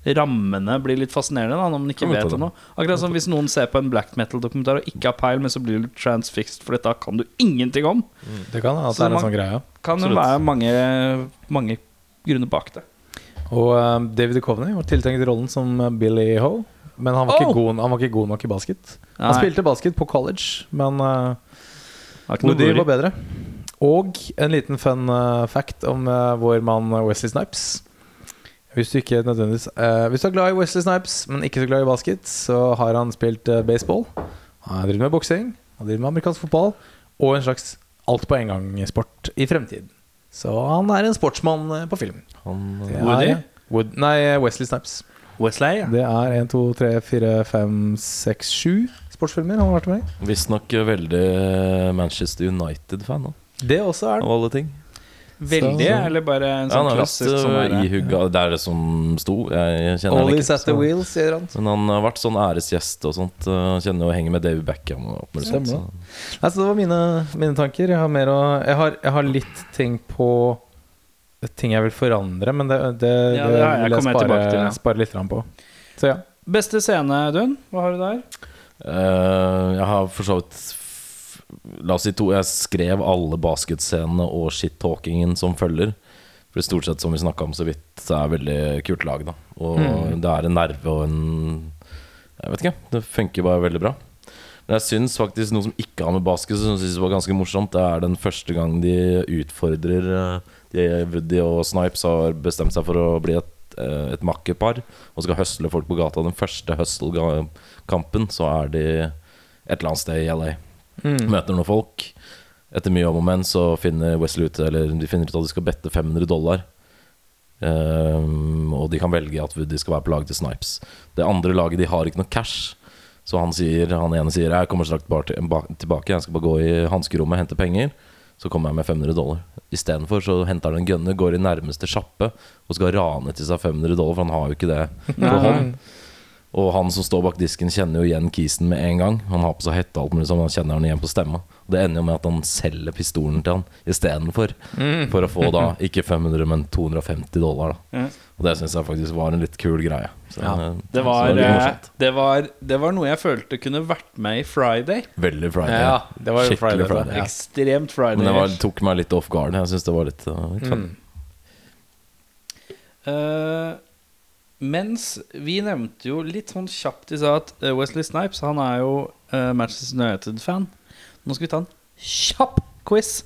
Speaker 1: rammene blir litt fascinerende da, når man ikke
Speaker 3: Kan godt
Speaker 1: vet
Speaker 3: hende.
Speaker 1: det nå. Akkurat som hvis noen ser på en black metal-dokumentar og ikke har peil, men så blir du transfixed, for dette kan du ingenting om.
Speaker 4: Det kan hende at
Speaker 1: Så
Speaker 4: det er en
Speaker 1: man-
Speaker 4: sånn greie.
Speaker 1: Kan jo
Speaker 3: Absolutt.
Speaker 1: være mange, mange grunner bak det.
Speaker 4: Og eh, David Duchovny var tiltenkt rollen som eh, Billy Ho. Men han var,
Speaker 1: Oh!
Speaker 4: ikke god, han var ikke god nok i basket. Han
Speaker 1: Nei.
Speaker 4: spilte basket på college, men eh,
Speaker 1: Har ikke noe
Speaker 4: Woody
Speaker 1: glory.
Speaker 4: var bedre. Og en liten fun eh, fact om eh, vår mann Wesley Snipes. Hvis du ikke nødvendigvis eh, Hvis du er glad i Wesley Snipes, men ikke så glad i basket, så har han spilt eh, baseball. Han driver med boksing, han driver med amerikansk fotball og en slags alt på en gang-sport i fremtiden. Så han er en sportsmann eh, på film.
Speaker 3: Han, eh,
Speaker 4: Det er-
Speaker 1: Woody?
Speaker 4: Wood, nei, Wesley Snipes.
Speaker 1: Wesley, ja.
Speaker 4: Det er 1, 2, 3, 4, 5, 6, 7 sportsfilmer han har vært med i.
Speaker 3: Visstnok veldig Manchester United-fan. han.
Speaker 4: Det også er
Speaker 3: Av alle ting.
Speaker 1: Veldig,
Speaker 4: Så-
Speaker 1: eller bare en
Speaker 3: Ja, han
Speaker 1: sånn
Speaker 3: har vært
Speaker 1: klassisk sånn
Speaker 3: øh,
Speaker 1: der,
Speaker 3: ihugga Det er det som sto. Jeg kjenner han
Speaker 4: Ollies
Speaker 3: ikke.
Speaker 4: at the wheels, sier han.
Speaker 3: Men han har vært sånn æresgjest og sånt. øh, Han kjenner jo og henger med David Beckham. Og alt mulig sånt,
Speaker 4: Stemmer
Speaker 3: så.
Speaker 4: Nei, så det var mine, mine tanker. Jeg har, mer å, jeg, har, jeg har litt ting på Ting jeg vil forandre, men det, det,
Speaker 1: Ja, det har jeg
Speaker 4: vil jeg
Speaker 1: kommet
Speaker 4: spare,
Speaker 1: tilbake til, ja.
Speaker 4: spare litt grann på. Så ja.
Speaker 1: Beste scene, Audun? Hva har du der?
Speaker 3: Eh, jeg har for så vidt f- La oss si to. Jeg skrev alle basketscenene og shit-talkingen som følger. For stort sett, som vi snakka om så vidt, så er det veldig kult lag, da. Og
Speaker 1: Mm.
Speaker 3: det er en nerve og en Jeg vet ikke. Det funker bare veldig bra. Men jeg syns faktisk noe som ikke har med basket som jeg synes var ganske morsomt, det er den første gang de utfordrer eh, de, Woody og Snipes har bestemt seg for å bli et, eh, et makkepar og skal høsle folk på gata. Den første hustle-kampen så er de et eller annet sted i LA. Møter noen folk. Etter mye om og men så finner Wesley ut Eller de finner ut at de skal bette 500 dollar. Ehm, og de kan velge at de skal være på laget til Snipes. Det andre laget de har ikke noe cash. Så han, sier, han ene sier jeg kommer straks bare til, ba, tilbake, jeg skal bare gå i hanskerommet og hente penger. Så kommer jeg med 500 dollar. Istedenfor så henter han en gunner, går i nærmeste sjappe og skal rane til seg 500 dollar, for han har jo ikke det på hånd. Og han som står bak disken, kjenner jo igjen kisen med en gang. Han har på seg hette og alt mulig sånn, han kjenner han igjen på stemma. Og det ender jo med at han selger pistolen til han istedenfor. For å få da ikke 500, men 250 dollar, da.
Speaker 1: Mm. Ja.
Speaker 3: Og det syns jeg faktisk var en litt kul greie. Så, eh, så
Speaker 1: Det var,
Speaker 3: litt
Speaker 1: eh,
Speaker 3: morsomt.
Speaker 1: det, var, det var noe jeg følte kunne vært med i Friday.
Speaker 3: Veldig Friday.
Speaker 4: Ja, det var jo
Speaker 3: Skikkelig
Speaker 4: Friday,
Speaker 3: Friday.
Speaker 4: da. Ja.
Speaker 1: Ekstremt
Speaker 3: Men det var,
Speaker 1: Friday.
Speaker 3: tok meg litt off guard. Jeg syns det var litt, uh, litt
Speaker 4: Mm.
Speaker 3: fett.
Speaker 1: Eh, mens vi nevnte jo litt sånn kjapt i stad at eh, Wesley Snipes han er jo eh, Manchester United-fan. Nå skal vi ta en kjapp quiz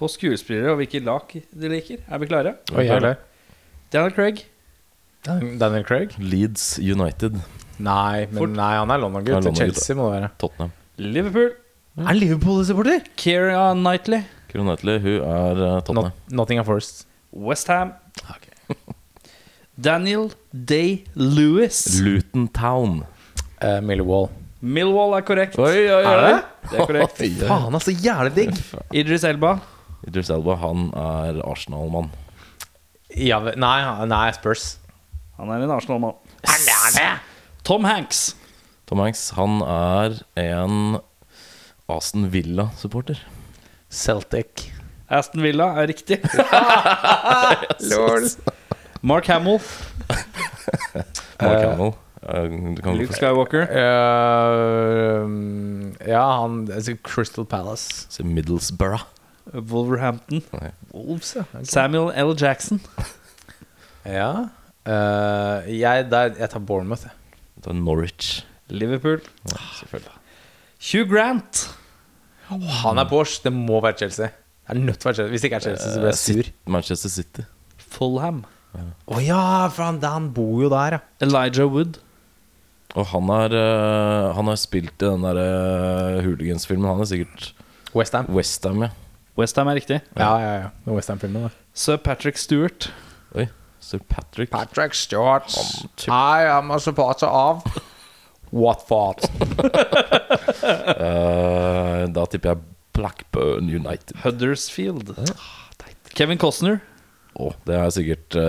Speaker 1: på skuespillere og hvilke lag de liker. Er vi klare?
Speaker 4: Og jeg er klar.
Speaker 1: Daniel Craig.
Speaker 4: Dan- Daniel Craig?
Speaker 3: Leeds United,
Speaker 4: Nei, men
Speaker 1: Fort.
Speaker 4: nei, han er
Speaker 3: Han
Speaker 4: London-gutt.
Speaker 3: er London-gutt,
Speaker 4: Chelsea må det være.
Speaker 3: Tottenham.
Speaker 1: Mm. Liverpool.
Speaker 4: Er Liverpool-supporter?
Speaker 1: Keira Knightley.
Speaker 3: Kieran Knightley, hun er uh, Tottenham.
Speaker 4: Nottingham Forest.
Speaker 1: Westham. Daniel Day-Lewis.
Speaker 3: Luton Town.
Speaker 4: Eh, Millwall.
Speaker 1: Millwall er korrekt.
Speaker 4: Er det?
Speaker 1: Det er korrekt.
Speaker 3: Oi, oi.
Speaker 4: Faen, altså, jævlig digg!
Speaker 1: Idris Elba.
Speaker 3: Idris Elba, han er Arsenal-mann.
Speaker 4: Ja, ve- nei, han- nei, Spurs.
Speaker 1: Han er en Arsenal-mann. Tom Hanks.
Speaker 3: Tom Hanks, han er en Aston Villa-supporter.
Speaker 4: Celtic.
Speaker 1: Aston Villa er riktig.
Speaker 4: Lord.
Speaker 1: Mark Hamill.
Speaker 3: Mark Hamill. Eh, Du kan gå
Speaker 1: Luke
Speaker 3: for
Speaker 1: Skywalker.
Speaker 4: Eh, ja, han altså, Crystal Palace.
Speaker 3: Se Middlesbrough.
Speaker 1: Wolverhampton.
Speaker 4: Wolves, ja. Ok.
Speaker 1: Samuel L. Jackson.
Speaker 4: Ja. Eh, jeg, der, jeg tar Bournemouth. jeg.
Speaker 3: Det er Norwich.
Speaker 1: Liverpool.
Speaker 3: Ja, selvfølgelig.
Speaker 1: Hugh Grant.
Speaker 4: Han er Porsche. Det må være Chelsea. Det er nødt til å være Chelsea Hvis det ikke er Chelsea, så blir jeg sur.
Speaker 3: Sit- Manchester Eh, City.
Speaker 1: Fulham.
Speaker 4: Eh, Å ja, for han, han bor jo der, ja.
Speaker 1: Elijah Wood.
Speaker 3: Og han har, eh, han har spilt i den derre hooligans-filmen. Han er sikkert
Speaker 4: Westham.
Speaker 3: Westham, ja.
Speaker 1: Westham er riktig.
Speaker 4: Ja, ja, ja. Det er Westham-filmen, da.
Speaker 1: Sir Patrick Stewart.
Speaker 3: Oi, Sir Patrick.
Speaker 4: Patrick Stewart. I am a supporter of What thought? Ah.
Speaker 3: Eh, da tipper jeg Blackburn United.
Speaker 1: Huddersfield. Ah, Kevin Costner.
Speaker 3: Å, det er sikkert eh,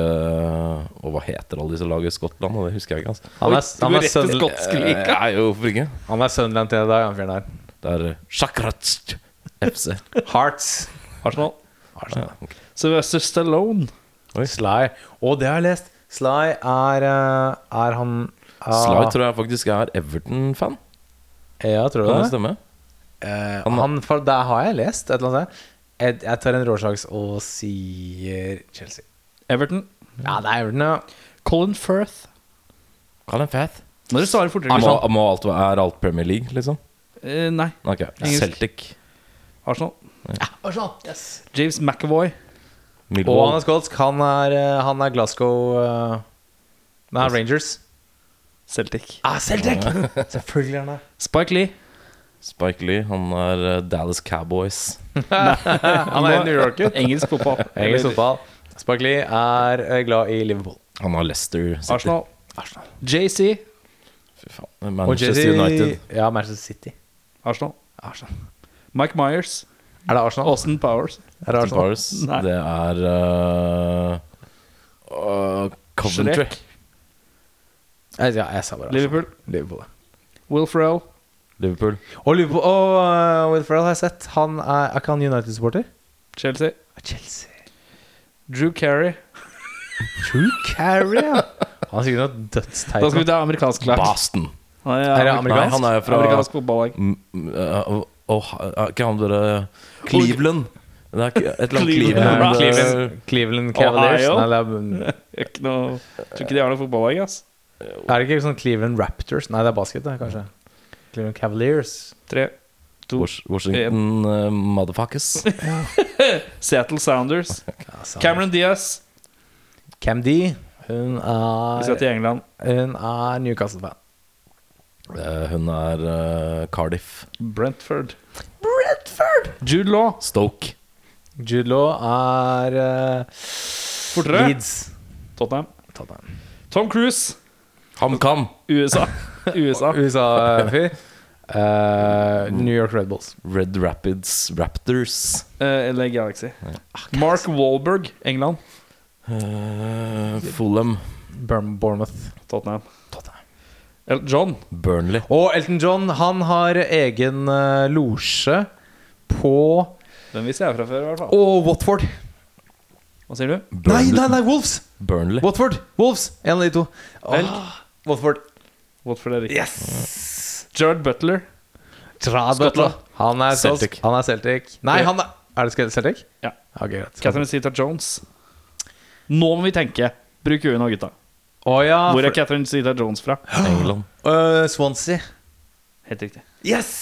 Speaker 3: Å, hva heter alle disse lagene i Skottland? Det husker jeg ikke. altså
Speaker 4: Han
Speaker 1: Oi,
Speaker 4: er,
Speaker 1: du
Speaker 4: han
Speaker 1: går
Speaker 4: er,
Speaker 1: rett til
Speaker 4: Sunderland-
Speaker 1: skotsk liga.
Speaker 3: Eh, Nei, hvorfor ikke?
Speaker 4: han er Sunderland til deg, han fyren der.
Speaker 3: Det er Sjakratsk FC.
Speaker 4: Hearts.
Speaker 1: Arsenal.
Speaker 3: Ja, ok.
Speaker 1: Sylvester Stallone.
Speaker 4: Sly. Å, det har jeg lest. Sly er eh, Er han uh,
Speaker 3: Sly tror jeg faktisk er Everton-fan.
Speaker 4: Ja, tror du
Speaker 3: Kan det
Speaker 4: det?
Speaker 3: stemme?
Speaker 4: Eh,
Speaker 3: Han-
Speaker 4: han, for der har jeg lest et eller annet sted. Jeg, jeg tar en råsjanse og sier Chelsea.
Speaker 1: Everton.
Speaker 4: Ja, det er Everton, ja.
Speaker 1: Colin Firth.
Speaker 3: Call him Fath.
Speaker 1: Må dere svare fortere.
Speaker 3: Må,
Speaker 1: Arsenal.
Speaker 3: må alt, være- er alt Premier League, liksom?
Speaker 1: Eh, nei.
Speaker 3: Ok,
Speaker 1: Engelsk.
Speaker 3: Celtic.
Speaker 1: Arsenal. James
Speaker 4: Og
Speaker 1: McAvoy.
Speaker 4: han
Speaker 3: Millwall.
Speaker 4: er skotsk. Han er, eh, han er Glasgow uh, Nei, Rangers.
Speaker 1: Celtic.
Speaker 4: Ah, Celtic! Selvfølgelig er han det.
Speaker 1: Spike Lee.
Speaker 3: Spike Lee. Han er eh, Dallas Cowboys.
Speaker 4: Han er i New Yorker.
Speaker 1: Engelsk fotball.
Speaker 4: Engelsk fotball. Spike Lee er eh, glad i Liverpool.
Speaker 3: Han har Leicester City.
Speaker 1: Arsenal. JC.
Speaker 3: Fy faen. Manchester
Speaker 4: Chelsea-
Speaker 3: United.
Speaker 4: Ja, Manchester City.
Speaker 1: Arsenal.
Speaker 4: Arsenal.
Speaker 1: Mike Myers.
Speaker 4: Er det Arsenal?
Speaker 1: Austin Powers.
Speaker 4: Er det Arsenal?
Speaker 3: Spurs.
Speaker 1: Nei.
Speaker 3: Det er eh, eh, Coventry.
Speaker 1: Shrek.
Speaker 4: Jeg, ja, jeg sa bare Arsenal.
Speaker 1: Liverpool.
Speaker 4: Liverpool. ja.
Speaker 1: Will Ferrell.
Speaker 3: Liverpool.
Speaker 4: Og Liverpool Og eh, Will Ferrell har jeg sett. Han er, er ikke han United-supporter?
Speaker 1: Chelsea.
Speaker 4: Chelsea.
Speaker 1: Drew Carey.
Speaker 4: True Carry, ja. Han er sikkert noe dødsteit.
Speaker 1: Da skal vi ta amerikansk lag.
Speaker 3: Boston.
Speaker 1: Han er,
Speaker 4: Er det
Speaker 3: Nei,
Speaker 4: amerikansk?
Speaker 3: han er jo fra-
Speaker 1: Amerikansk fotballag.
Speaker 3: Mm, mm, eh, oh, oh, eh, Ikke han bare Cleveland. Det er ikke et eller annet Cleveland.
Speaker 4: Eh,
Speaker 3: eh,
Speaker 1: Cleveland.
Speaker 4: Cleveland, Cleveland Cavaliers.
Speaker 1: Ohio?
Speaker 4: Nei, det er,
Speaker 1: Jeg er ikke noe- Tror ikke de har noe fotballag, ass.
Speaker 4: er det ikke sånn Cleveland Raptors? Nei, det er basket, det, kanskje. Cleveland Cavaliers.
Speaker 1: Tre, to
Speaker 3: Wash- Washington eh, motherfuckers.
Speaker 1: Seattle Sounders.
Speaker 4: Ja, sant.
Speaker 1: Cameron Diaz.
Speaker 4: Cam D. Hun
Speaker 1: Vi skal
Speaker 4: er,
Speaker 1: til England.
Speaker 4: hun er Newcastle-fan.
Speaker 3: Eh, hun er eh, Cardiff.
Speaker 1: Brentford. Brentford! Jude Law.
Speaker 3: Stoke.
Speaker 4: Jude Law er eh,
Speaker 1: Fortere.
Speaker 4: Leeds.
Speaker 1: Tottenham.
Speaker 4: Tottenham.
Speaker 1: Tom Cruise.
Speaker 3: HamKam.
Speaker 1: USA. USA.
Speaker 4: USA-fyr. Eh, New York Red Bulls.
Speaker 3: Red Rapids Raptors.
Speaker 1: Eh, LA Galaxy. Mark Wahlberg. England.
Speaker 3: Eh, Fulham.
Speaker 4: Burm- Bournemouth.
Speaker 1: Tottenham. Elton John.
Speaker 3: Burnley.
Speaker 4: Og Elton John, han har egen uh, losje på
Speaker 1: Den visste jeg fra før, i hvert fall.
Speaker 4: Og Watford.
Speaker 1: Hva sier du?
Speaker 4: Nei,
Speaker 3: Burnley.
Speaker 4: nei, nei, Wolves!
Speaker 3: Burnley.
Speaker 4: Watford! Wolves! En av de to. Åh, Watford.
Speaker 1: Watford er riktig.
Speaker 4: Yes!
Speaker 1: Gerard Butler.
Speaker 4: Skottland. Han er Celtic.
Speaker 3: Celtic.
Speaker 4: Han er Celtic. Nei,
Speaker 1: Ja.
Speaker 4: han er Er det Sk- Celtic?
Speaker 1: Ja.
Speaker 4: Ok, greit.
Speaker 1: Catherine Zeta Jones. Nå må vi tenke. Bruk huet nå, gutta.
Speaker 4: Å ja.
Speaker 1: Hvor er
Speaker 4: for-
Speaker 1: Catherine Zeta Jones fra?
Speaker 3: England.
Speaker 4: Øh, Swansea.
Speaker 1: Helt riktig.
Speaker 4: Yes!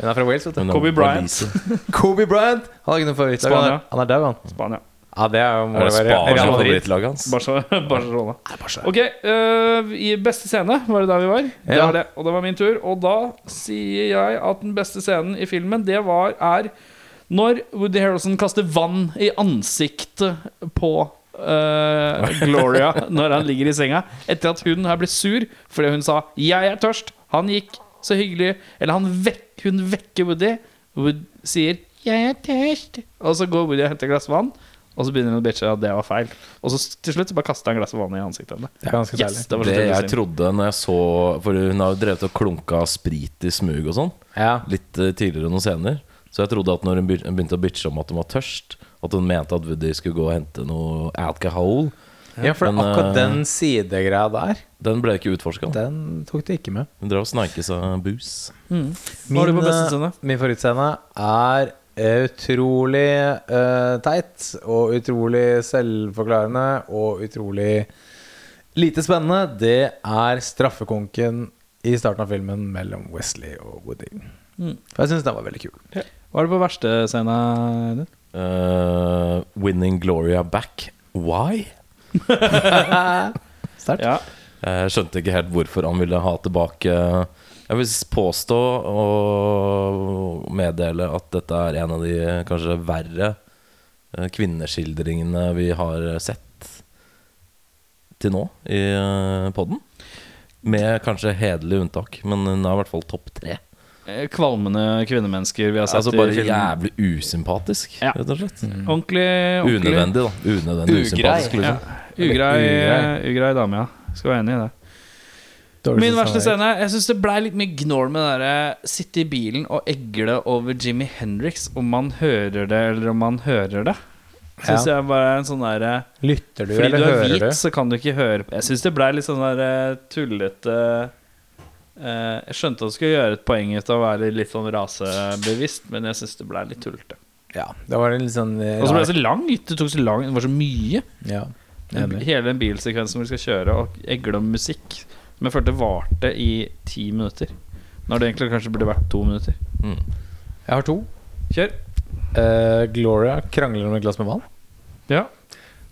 Speaker 4: Hun er fra Wales, vet du.
Speaker 3: Hun er
Speaker 1: Kobe Bryant.
Speaker 3: walliser.
Speaker 4: Kobe Bryant. Han har ikke noen favorittlag. Han er,
Speaker 1: Spania.
Speaker 4: han er dau, han.
Speaker 1: Spania.
Speaker 4: Ja, det er jo må
Speaker 3: Er det
Speaker 4: det være
Speaker 3: Spania
Speaker 4: Real Madrid.
Speaker 3: favorittlaget hans?
Speaker 1: Barca- Barcelona.
Speaker 4: Barca.
Speaker 1: Ok, øh, i beste scene var det der vi var. Det
Speaker 4: Ja.
Speaker 1: var det, og det var min tur. Og da sier jeg at den beste scenen i filmen, det var er når Woody Harrelson kaster vann i ansiktet på øh, Gloria når han ligger i senga, etter at hun her ble sur fordi hun sa 'jeg er tørst', han gikk, så hyggelig. Eller han vekk, hun vekker Woody. Wood sier 'jeg er tørst', og så går Woody og henter et glass vann. Og så begynner hun å bitche at det var feil. Og så s- til slutt så bare kaster han glasset vann i ansiktet henne.
Speaker 4: Det er ganske deilig.
Speaker 1: Yes, det var
Speaker 3: Det
Speaker 1: slutt.
Speaker 3: jeg trodde når jeg så For hun har jo drevet og klunka sprit i smug og sånn.
Speaker 4: Ja.
Speaker 3: Litt eh, tidligere noen scener. Så jeg trodde at når hun begy- begynte å bitche om at hun var tørst, at hun mente at Woody skulle gå og hente noe alcohol.
Speaker 4: ja, for
Speaker 3: Men,
Speaker 4: akkurat
Speaker 3: øh,
Speaker 4: den sidegreia der,
Speaker 3: Den ble ikke utforska.
Speaker 4: den tok de ikke med.
Speaker 3: Hun drev og sneika seg bus.
Speaker 1: Hva har du på beste scene?
Speaker 4: Min favorittscene er utrolig eh, teit og utrolig selvforklarende og utrolig lite spennende. Det er straffekonken i starten av filmen mellom Wesley og Woody. For jeg syns den var veldig kul.
Speaker 1: Hva er det på verste scene? Audun?
Speaker 3: Eh, winning Gloria back. Why?
Speaker 4: Sterkt.
Speaker 1: Ja.
Speaker 3: Jeg skjønte ikke helt hvorfor han ville ha tilbake eh, Jeg vil påstå og meddele at dette er en av de kanskje verre eh, kvinneskildringene vi har sett til nå i eh, podden. Med kanskje hederlig unntak, men hun er i hvert fall topp tre.
Speaker 1: Eh, Kvalmende kvinnemennesker vi har sett
Speaker 3: Altså Mm. bare
Speaker 1: i film.
Speaker 3: jævlig usympatisk,
Speaker 1: Ja.
Speaker 3: rett og slett.
Speaker 1: Ordentlig, ordentlig
Speaker 3: Unødvendig, da. Unødvendig usympatisk,
Speaker 1: Ja.
Speaker 3: liksom.
Speaker 1: Ugrei, ugrei dame, ja. Skal være enig i det. Min verste scene Jeg syns det blei litt mye gnål med det derre sitte i bilen og egle over Jimmy Hendrix, om man hører det eller om man hører det. Syns jeg bare er en sånn derre
Speaker 4: Lytter du,
Speaker 1: Fordi du
Speaker 4: eller
Speaker 1: er
Speaker 4: hører
Speaker 1: hvit,
Speaker 4: du?
Speaker 1: så kan du ikke høre på Jeg syns det blei litt sånn der eh, tullete eh, Jeg skjønte at du skulle gjøre et poeng ut av å være litt sånn rasebevisst, men jeg syns det blei litt tullete.
Speaker 4: Ja, da var det litt sånn eh,
Speaker 1: Og så ble det
Speaker 4: rar.
Speaker 1: så langt. Det tok så lang, det var så mye.
Speaker 4: Ja, enig.
Speaker 1: Hele den bilsekvensen hvor de skal kjøre og egle om musikk, som jeg følte varte i ti minutter. Når det egentlig kanskje burde vært to minutter.
Speaker 4: Jeg har to.
Speaker 1: Kjør.
Speaker 4: Eh, Gloria krangler om et glass med vann.
Speaker 1: Ja.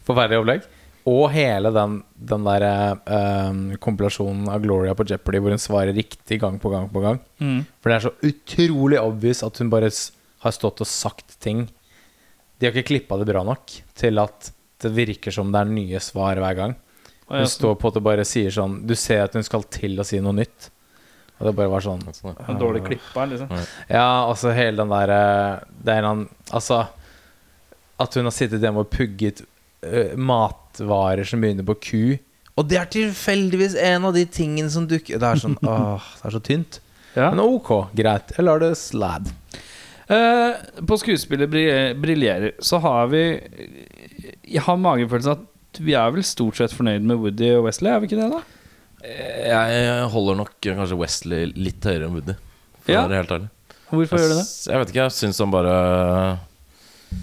Speaker 4: Forferdelig opplegg. Og hele den, den der eh, kompilasjonen av Gloria på Jeopardy hvor hun svarer riktig gang på gang på gang.
Speaker 1: Mm.
Speaker 4: For det er så utrolig obvious at hun bare s har stått og sagt ting. De har ikke klippa det bra nok til at det virker som det er nye svar hver gang.
Speaker 1: Og
Speaker 4: Hun
Speaker 1: jeg,
Speaker 4: står på at det bare sier sånn Du ser at hun skal til å si noe nytt. Og det bare var sånn
Speaker 3: Sånn, ja.
Speaker 1: en dårlig klippa, liksom.
Speaker 4: Ja, altså hele den der eh, Det er en Altså At hun har sittet hjemme og pugget eh, matvarer som begynner på Q. Og det er tilfeldigvis en av de tingene som dukker Det er sånn Åh, det er så tynt.
Speaker 1: Ja.
Speaker 4: Men ok, greit. Jeg lar det slad.
Speaker 1: Eh, på skuespillet bri- briljerer, så har vi Jeg har magefølelsen at vi er vel stort sett fornøyd med Woody og Wesley, er vi ikke det, da?
Speaker 3: Jeg holder nok eh, kanskje Wesley litt høyere enn Woody, for å
Speaker 1: Ja.
Speaker 3: være helt ærlig.
Speaker 1: Hvorfor gjør du det?
Speaker 3: Jeg vet ikke, jeg syns han bare øh,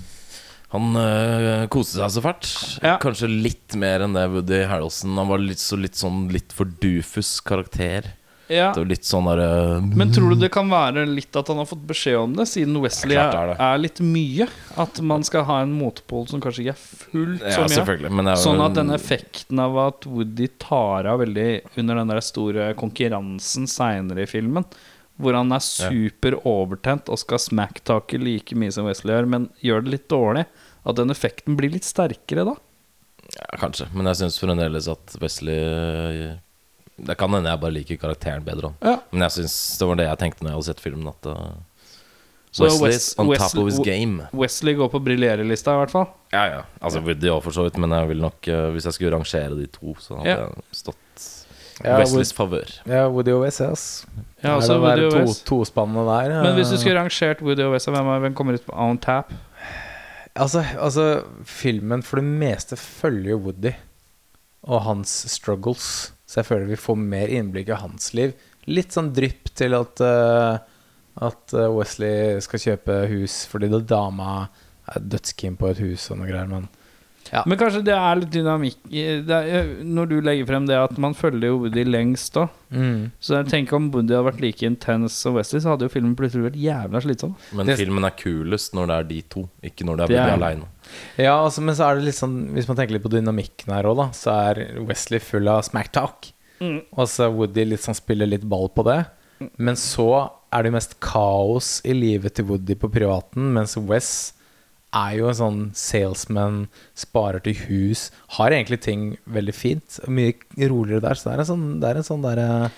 Speaker 3: Han øh, koste seg så fælt.
Speaker 1: Ja.
Speaker 3: Kanskje litt mer enn det Woody Harrelson. Han var litt, så litt sånn litt for dufus karakter.
Speaker 1: Ja.
Speaker 3: Det var litt sånn derre
Speaker 1: Men tror du det kan være litt at han har fått beskjed om det, siden Wesley
Speaker 3: Ja, klart det
Speaker 1: er,
Speaker 3: er det.
Speaker 1: er litt mye? At man skal ha en motpol som kanskje ikke er fullt så
Speaker 3: Ja,
Speaker 1: mye?
Speaker 3: selvfølgelig. Men det er jo-
Speaker 1: Sånn at den effekten av at Woody tar av veldig under den der store konkurransen seinere i filmen, hvor han er super overtent og skal smacktake like mye som Wesley gjør, men gjør det litt dårlig, at den effekten blir litt sterkere da.
Speaker 3: ja, Kanskje. Men jeg syns fremdeles at Wesley øh, Det kan hende jeg bare liker karakteren bedre. da.
Speaker 1: Ja.
Speaker 3: Men jeg synes, det var det jeg tenkte når jeg hadde sett filmen. At øh,
Speaker 1: Så
Speaker 3: Wesley
Speaker 1: Wes-
Speaker 3: is on top
Speaker 1: Wesley-
Speaker 3: of his game.
Speaker 1: Wesley går på briljerelista, i hvert fall.
Speaker 3: Ja, ja. Altså Woody òg, for så vidt. Men jeg vil nok, eh, hvis jeg skulle rangere de to, så hadde
Speaker 1: Ja.
Speaker 3: jeg stått
Speaker 4: Ja,
Speaker 3: Wesleys favør.
Speaker 4: Ja, Woody og Wes, ass.
Speaker 1: Ja,
Speaker 4: Er
Speaker 1: også
Speaker 4: det å være
Speaker 1: Woody og
Speaker 4: to-
Speaker 1: Wes.
Speaker 4: Tospannene der. eh,
Speaker 1: Men hvis du skulle rangert Woody og Wesley, hvem, er- hvem kommer ut på on tap?
Speaker 4: altså, altså, filmen for det meste følger jo Woody og hans struggles. Så jeg føler vi får mer innblikk i hans liv. Litt sånn drypp til at eh, At eh, Wesley skal kjøpe hus fordi da dama er dødskeen på et hus og noe greier, men Ja.
Speaker 1: Men kanskje det er litt dynamikk i- det er, Når du legger frem det at man følger jo Woody lengst da Så jeg tenker om Woody hadde vært like intens som Wesley Så hadde jo filmen plutselig vært jævla slitsom
Speaker 3: Men
Speaker 4: Det-
Speaker 3: filmen er kulest når det er de to, ikke når det er
Speaker 1: Det
Speaker 3: Woody
Speaker 1: er-
Speaker 3: aleine.
Speaker 4: Ja, altså, men så er det litt sånn Hvis man tenker litt på dynamikken her òg, da, så er Wesley full av smack talk. Og så er Woody litt sånn spiller litt ball på det. Men så er det jo mest kaos i livet til Woody på privaten, mens Wes er jo en sånn salesman, sparer til hus, har egentlig ting veldig fint. Mye roligere der, så det er en sånn, det er en sånn der,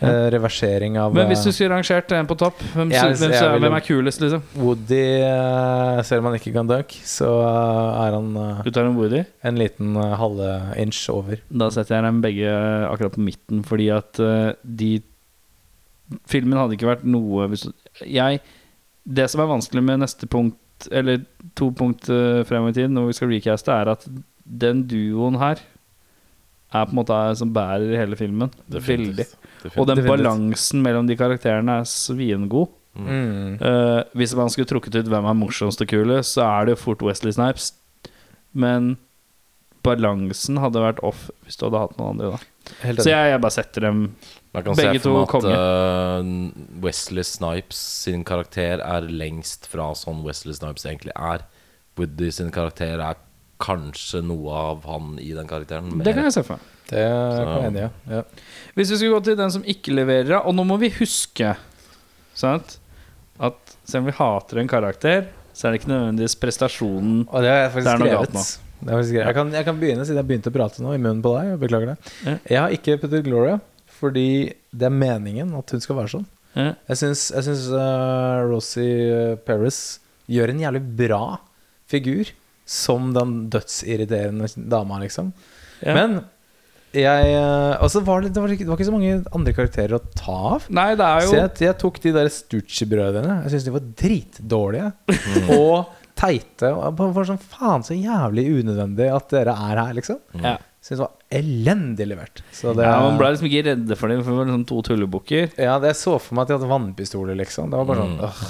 Speaker 4: eh, reversering av
Speaker 1: Men hvis du
Speaker 4: eh,
Speaker 1: skulle rangert en på topp Hvem,
Speaker 4: Jeg-
Speaker 1: sy- hvem,
Speaker 4: jeg
Speaker 1: sy-
Speaker 4: vil-
Speaker 1: hvem er kulest liksom?
Speaker 4: Woody, eh, selv om han ikke kan dunk, så eh, er han eh,
Speaker 1: Du tar en Woody
Speaker 4: en liten eh, halve inch over.
Speaker 1: Da setter jeg dem begge eh, akkurat på midten Fordi at eh, de Filmen hadde ikke vært noe hvis, Jeg Det som er vanskelig med neste punkt Eller to punkt eh, frem i tid Når vi skal recaste er at Den duoen her Er på en måte er, som bærer hele filmen Veldig Og den
Speaker 4: Definitivt.
Speaker 1: balansen mellom de karakterene er svingod Eh, Hvis man skulle trukket ut hvem er morsomst og kule Så er det jo fort Wesley Snipes Men Balansen hadde vært off Hvis du hadde hatt noen andre da
Speaker 4: Helt
Speaker 1: så
Speaker 4: enig.
Speaker 1: jeg, jeg bare setter dem
Speaker 3: Jeg kan se
Speaker 1: Begge
Speaker 3: for
Speaker 1: to
Speaker 3: meg at
Speaker 1: konge.
Speaker 3: eh, Wesley Snipes sin karakter er lengst fra sånn Wesley Snipes egentlig er. Woody sin karakter er kanskje noe av han i den karakteren.
Speaker 1: Det kan jeg se for meg.
Speaker 4: Det kan jeg enig i. Ja.
Speaker 1: Hvis vi skulle gå til den som ikke leverer, og nå må vi huske sant? at selv om vi hater en karakter, så er det ikke nødvendigvis prestasjonen
Speaker 4: Og det har jeg
Speaker 1: Det
Speaker 4: faktisk
Speaker 1: er noe galt
Speaker 4: skrevet.
Speaker 1: nå.
Speaker 4: Det er faktisk skrevet. Jeg, kan, jeg kan begynne, siden jeg begynte å prate nå, i munnen på deg. Jeg beklager det.
Speaker 1: Ja.
Speaker 4: Jeg har ikke puttet Gloria, Fordi det er meningen at hun skal være sånn.
Speaker 1: Ja.
Speaker 4: Jeg syns, jeg syns eh, Rosie eh, Perez gjør en jævlig bra figur som den dødsirriterende dama, liksom.
Speaker 1: Ja.
Speaker 4: Men jeg eh, Altså, var det, det, var ikke, det var ikke så mange andre karakterer å ta av.
Speaker 1: Nei, det er jo
Speaker 4: Så jeg, jeg tok de der Stucci-brødrene. Jeg syns de var dritdårlige
Speaker 1: Mm.
Speaker 4: og teite. Og jeg bare var sånn faen så jævlig unødvendig at dere er her, liksom.
Speaker 1: Mm. ja.
Speaker 4: Syns det var elendig levert. Så det,
Speaker 1: ja, Man ble liksom ikke redde for dem, for det var liksom to tullebukker.
Speaker 4: Ja, det jeg så for meg at de hadde vannpistoler, liksom. Det var bare sånn
Speaker 1: Mm.
Speaker 4: «Åh».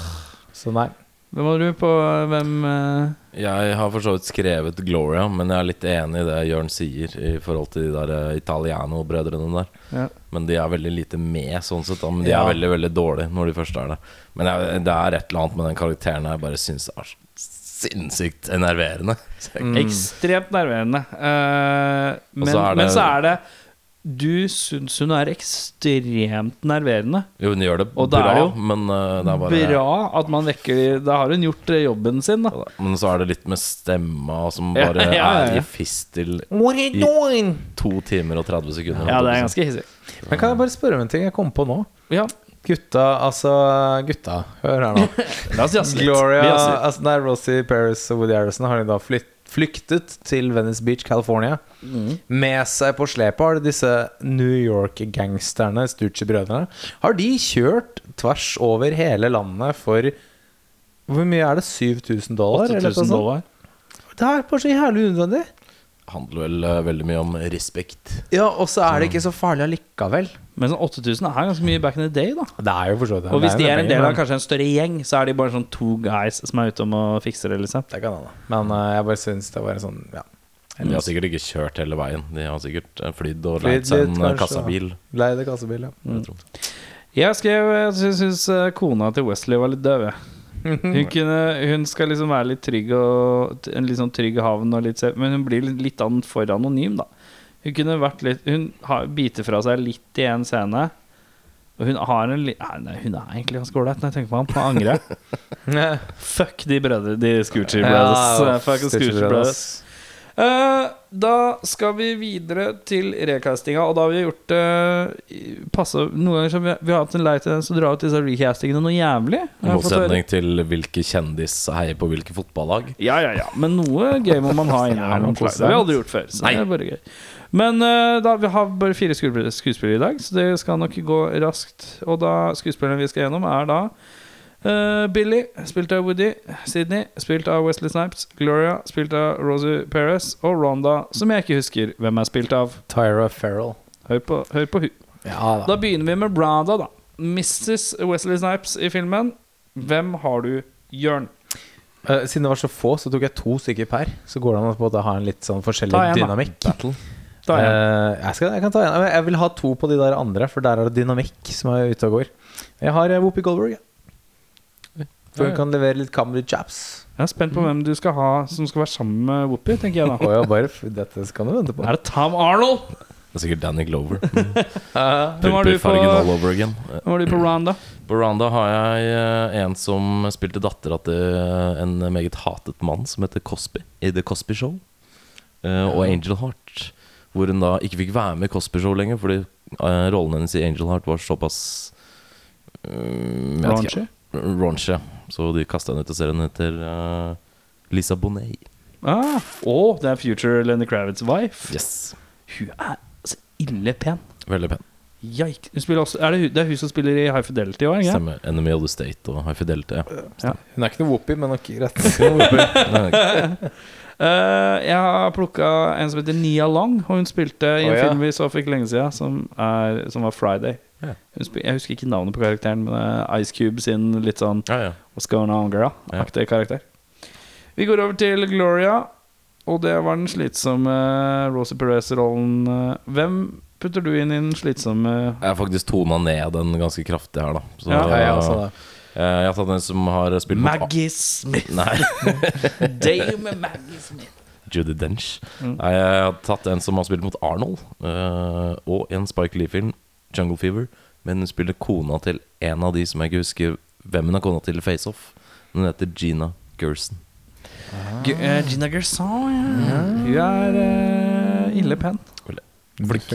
Speaker 4: Så nei.
Speaker 1: Hvem var du på hvem eh?
Speaker 3: Jeg har for så vidt skrevet Gloria, men jeg er litt enig i det Jørn sier i forhold til de der eh, Italiano-brødrene der.
Speaker 1: Ja.
Speaker 3: Men de er veldig lite med, sånn sett. Da. Men de
Speaker 4: Ja.
Speaker 3: er veldig veldig dårlige når de først er det. Men jeg, det er et eller annet med den karakteren jeg bare syns er så sinnssykt enerverende. Så jeg-
Speaker 1: Ekstremt nerverende. Eh,
Speaker 3: Mm.
Speaker 1: men,
Speaker 3: så er det-
Speaker 1: men så er det Du syns hun er ekstremt nerverende.
Speaker 3: Jo, hun gjør det
Speaker 1: Og da
Speaker 3: bra,
Speaker 1: er det jo
Speaker 3: men eh, det er bare
Speaker 1: Bra at man vekker Da har hun gjort eh, jobben sin, da.
Speaker 3: Men så er det litt med stemma som
Speaker 1: Ja,
Speaker 3: bare
Speaker 1: ja, ja, ja.
Speaker 3: er i fistel
Speaker 4: What are you doing?
Speaker 3: to timer og 30 sekunder.
Speaker 1: Ja, det er ganske hissig.
Speaker 4: Men kan jeg bare spørre om en ting jeg kom på nå?
Speaker 1: Ja,
Speaker 4: Gutta, altså Gutta, hør her nå.
Speaker 1: la oss jazze litt.
Speaker 4: Gloria
Speaker 1: Vi jazzer litt.
Speaker 4: altså, Nei, Rosie Paris og Woody Harrison har jo da flytt, flyktet til Venice Beach, California. Mm. Med seg på slep har de disse New York-gangsterne, Stucci-brødrene. Har de kjørt tvers over hele landet for Hvor mye er det? 7000 dollar? eller noe
Speaker 1: 8000
Speaker 4: sånt?
Speaker 1: dollar.
Speaker 4: Det er bare så jævlig unødvendig.
Speaker 3: handler vel eh, veldig mye om respekt.
Speaker 4: Ja, og så er det ikke så farlig allikevel.
Speaker 1: Men sånn 8000 er ganske mye back in the day, da.
Speaker 4: Det er jo for så vidt det.
Speaker 1: Og hvis
Speaker 4: Det
Speaker 1: de
Speaker 4: jo
Speaker 1: er en
Speaker 4: penger,
Speaker 1: del av
Speaker 4: men-
Speaker 1: kanskje en større gjeng, så er de bare sånn to guys som er ute om å fikse det, liksom.
Speaker 4: Det kan hende. Men eh, jeg bare syns det var en sånn ja.
Speaker 3: De har sikkert ikke kjørt hele veien. De har sikkert eh, flydd og
Speaker 4: Flydd
Speaker 3: leid seg en
Speaker 4: litt,
Speaker 3: eh,
Speaker 4: kanskje,
Speaker 3: kassabil.
Speaker 4: Leide kassebil, ja.
Speaker 3: vil jeg tro.
Speaker 1: Jeg skrev Jeg sy- syns eh, kona til Wesley var litt døv, jeg. Hun, kunne, hun skal liksom være litt trygg og en litt sånn trygg havn, og litt, se- men hun blir litt- litt an- for anonym, da. Hun kunne vært litt Hun har, biter fra seg litt i en scene. Og hun har en li- Nei, nei, hun er egentlig ganske ålreit, når jeg tenker meg om. Nå angrer jeg. Fuck de brødre, de Scoochie Brothers.
Speaker 4: Ja,
Speaker 1: eh, Fuck the
Speaker 4: Scoochie
Speaker 1: Scoochie Brothers. Eh, da skal vi videre til recastinga, og da har vi gjort eh, i- passe, Noen ganger så har vi, vi har hatt en lei tendens til å dra ut disse recastingene noe jævlig.
Speaker 3: I
Speaker 1: Har jeg fått høre.
Speaker 3: motsetning til hvilke kjendis heier på hvilke fotballag.
Speaker 1: Ja, ja, ja. Men noe gøy må man ha
Speaker 4: Det er noe
Speaker 1: innimellom. Det
Speaker 4: positivt.
Speaker 1: har vi aldri gjort før. Så
Speaker 3: Nei.
Speaker 1: det er bare gøy Men eh, da, vi har bare fire skuespillere, skuespillere i dag, så det skal nok gå raskt. Og da skuespillerne vi skal gjennom, er da eh, Billy, spilt av Woody. Sydney, spilt av Wesley Snipes. Gloria, spilt av Rosie Perez. Og Rhonda, som jeg ikke husker hvem er spilt av.
Speaker 4: Tyra Farrell.
Speaker 1: Hør på, hør på hun.
Speaker 4: Ja da.
Speaker 1: Da begynner vi med Rhonda, da. Mrs. Wesley Snipes i filmen. Hvem har du, Jørn?
Speaker 4: Eh, siden det var så få, så tok jeg to stykker per. Så går det an å på en måte ha en litt sånn forskjellig
Speaker 1: Ta en, da.
Speaker 4: dynamikk.
Speaker 1: Da er jeg.
Speaker 4: Eh, jeg, skal, jeg kan ta en. Men Jeg vil ha to på de der andre, for der er det dynamikk som er ute og går. Jeg har eh, Whoopi Goldberg. Ja. For hun kan levere litt comedy chaps.
Speaker 1: Jeg er spent på hvem du skal ha som skal være sammen med Whoopi. tenker jeg da
Speaker 4: Og jeg bare, f- dette skal du vente på.
Speaker 1: Er det Tom Arnold?
Speaker 3: Det er sikkert Danny Glover.
Speaker 1: Hvem har du på,
Speaker 3: Pulperfargen all over again. Eh,
Speaker 1: hvem har du på Rhonda?
Speaker 3: På Randa har jeg eh, en som spilte dattera til eh, en meget hatet mann som heter Cosby i The Cosby Show. Eh, Og Angel Heart. Hvor hun da ikke fikk være med i Cosby Show lenger fordi eh, rollen hennes i Angel Heart var såpass mm, jeg vet ikke.
Speaker 1: Raunchy?
Speaker 3: Raunchy. Så de kasta henne ut av serien etter eh, Lisa Bonet.
Speaker 1: Ah, å, det er future Lenny Kravitz' wife.
Speaker 3: Yes.
Speaker 1: Hun er så ille pen.
Speaker 3: Veldig pen.
Speaker 1: Jaik. Hun spiller også, er det, hun, det er hun som spiller i High Fidelity òg? Ja.
Speaker 3: Stemmer. Enemy of the State og High Fidelity. Ja.
Speaker 4: Hun er ikke noe Whoopi, men nok rett. Whoopi.
Speaker 1: Eh, jeg har plukka en som heter Nia Long, og hun spilte i en
Speaker 4: Å, ja.
Speaker 1: film vi så for ikke lenge siden, som, er, som var Friday.
Speaker 3: Ja.
Speaker 1: Hun spil, jeg husker ikke navnet på karakteren, men det er Ice Cube sin litt sånn
Speaker 3: Ja, ja.
Speaker 1: What's going on, girl?
Speaker 3: Ja.
Speaker 1: Aktig karakter. Vi går over til Gloria, og det var den slitsomme eh, Rosie Perez-rollen. Eh, Hvem putter du inn i den slitsomme
Speaker 3: Jeg har faktisk tona ned den ganske kraftig her, da. Så,
Speaker 1: Ja,
Speaker 4: Ja, jeg også, da.
Speaker 3: eh, jeg har tatt en som har spilt mot-
Speaker 1: Maggie Smith?
Speaker 3: Nei,
Speaker 1: Dame Maggie Smith.
Speaker 3: Judy Dench. Nei, jeg har tatt en som har spilt mot Arnold, eh, og en Spike Lee-film, 'Jungle Fever'. Men hun spiller kona til en av de som jeg ikke husker hvem hun er kona til i Face Off. Hun heter Gina Gerson.
Speaker 1: G eh, Gina Gerson, ja. Hun er eh, ille pen.
Speaker 4: Flink.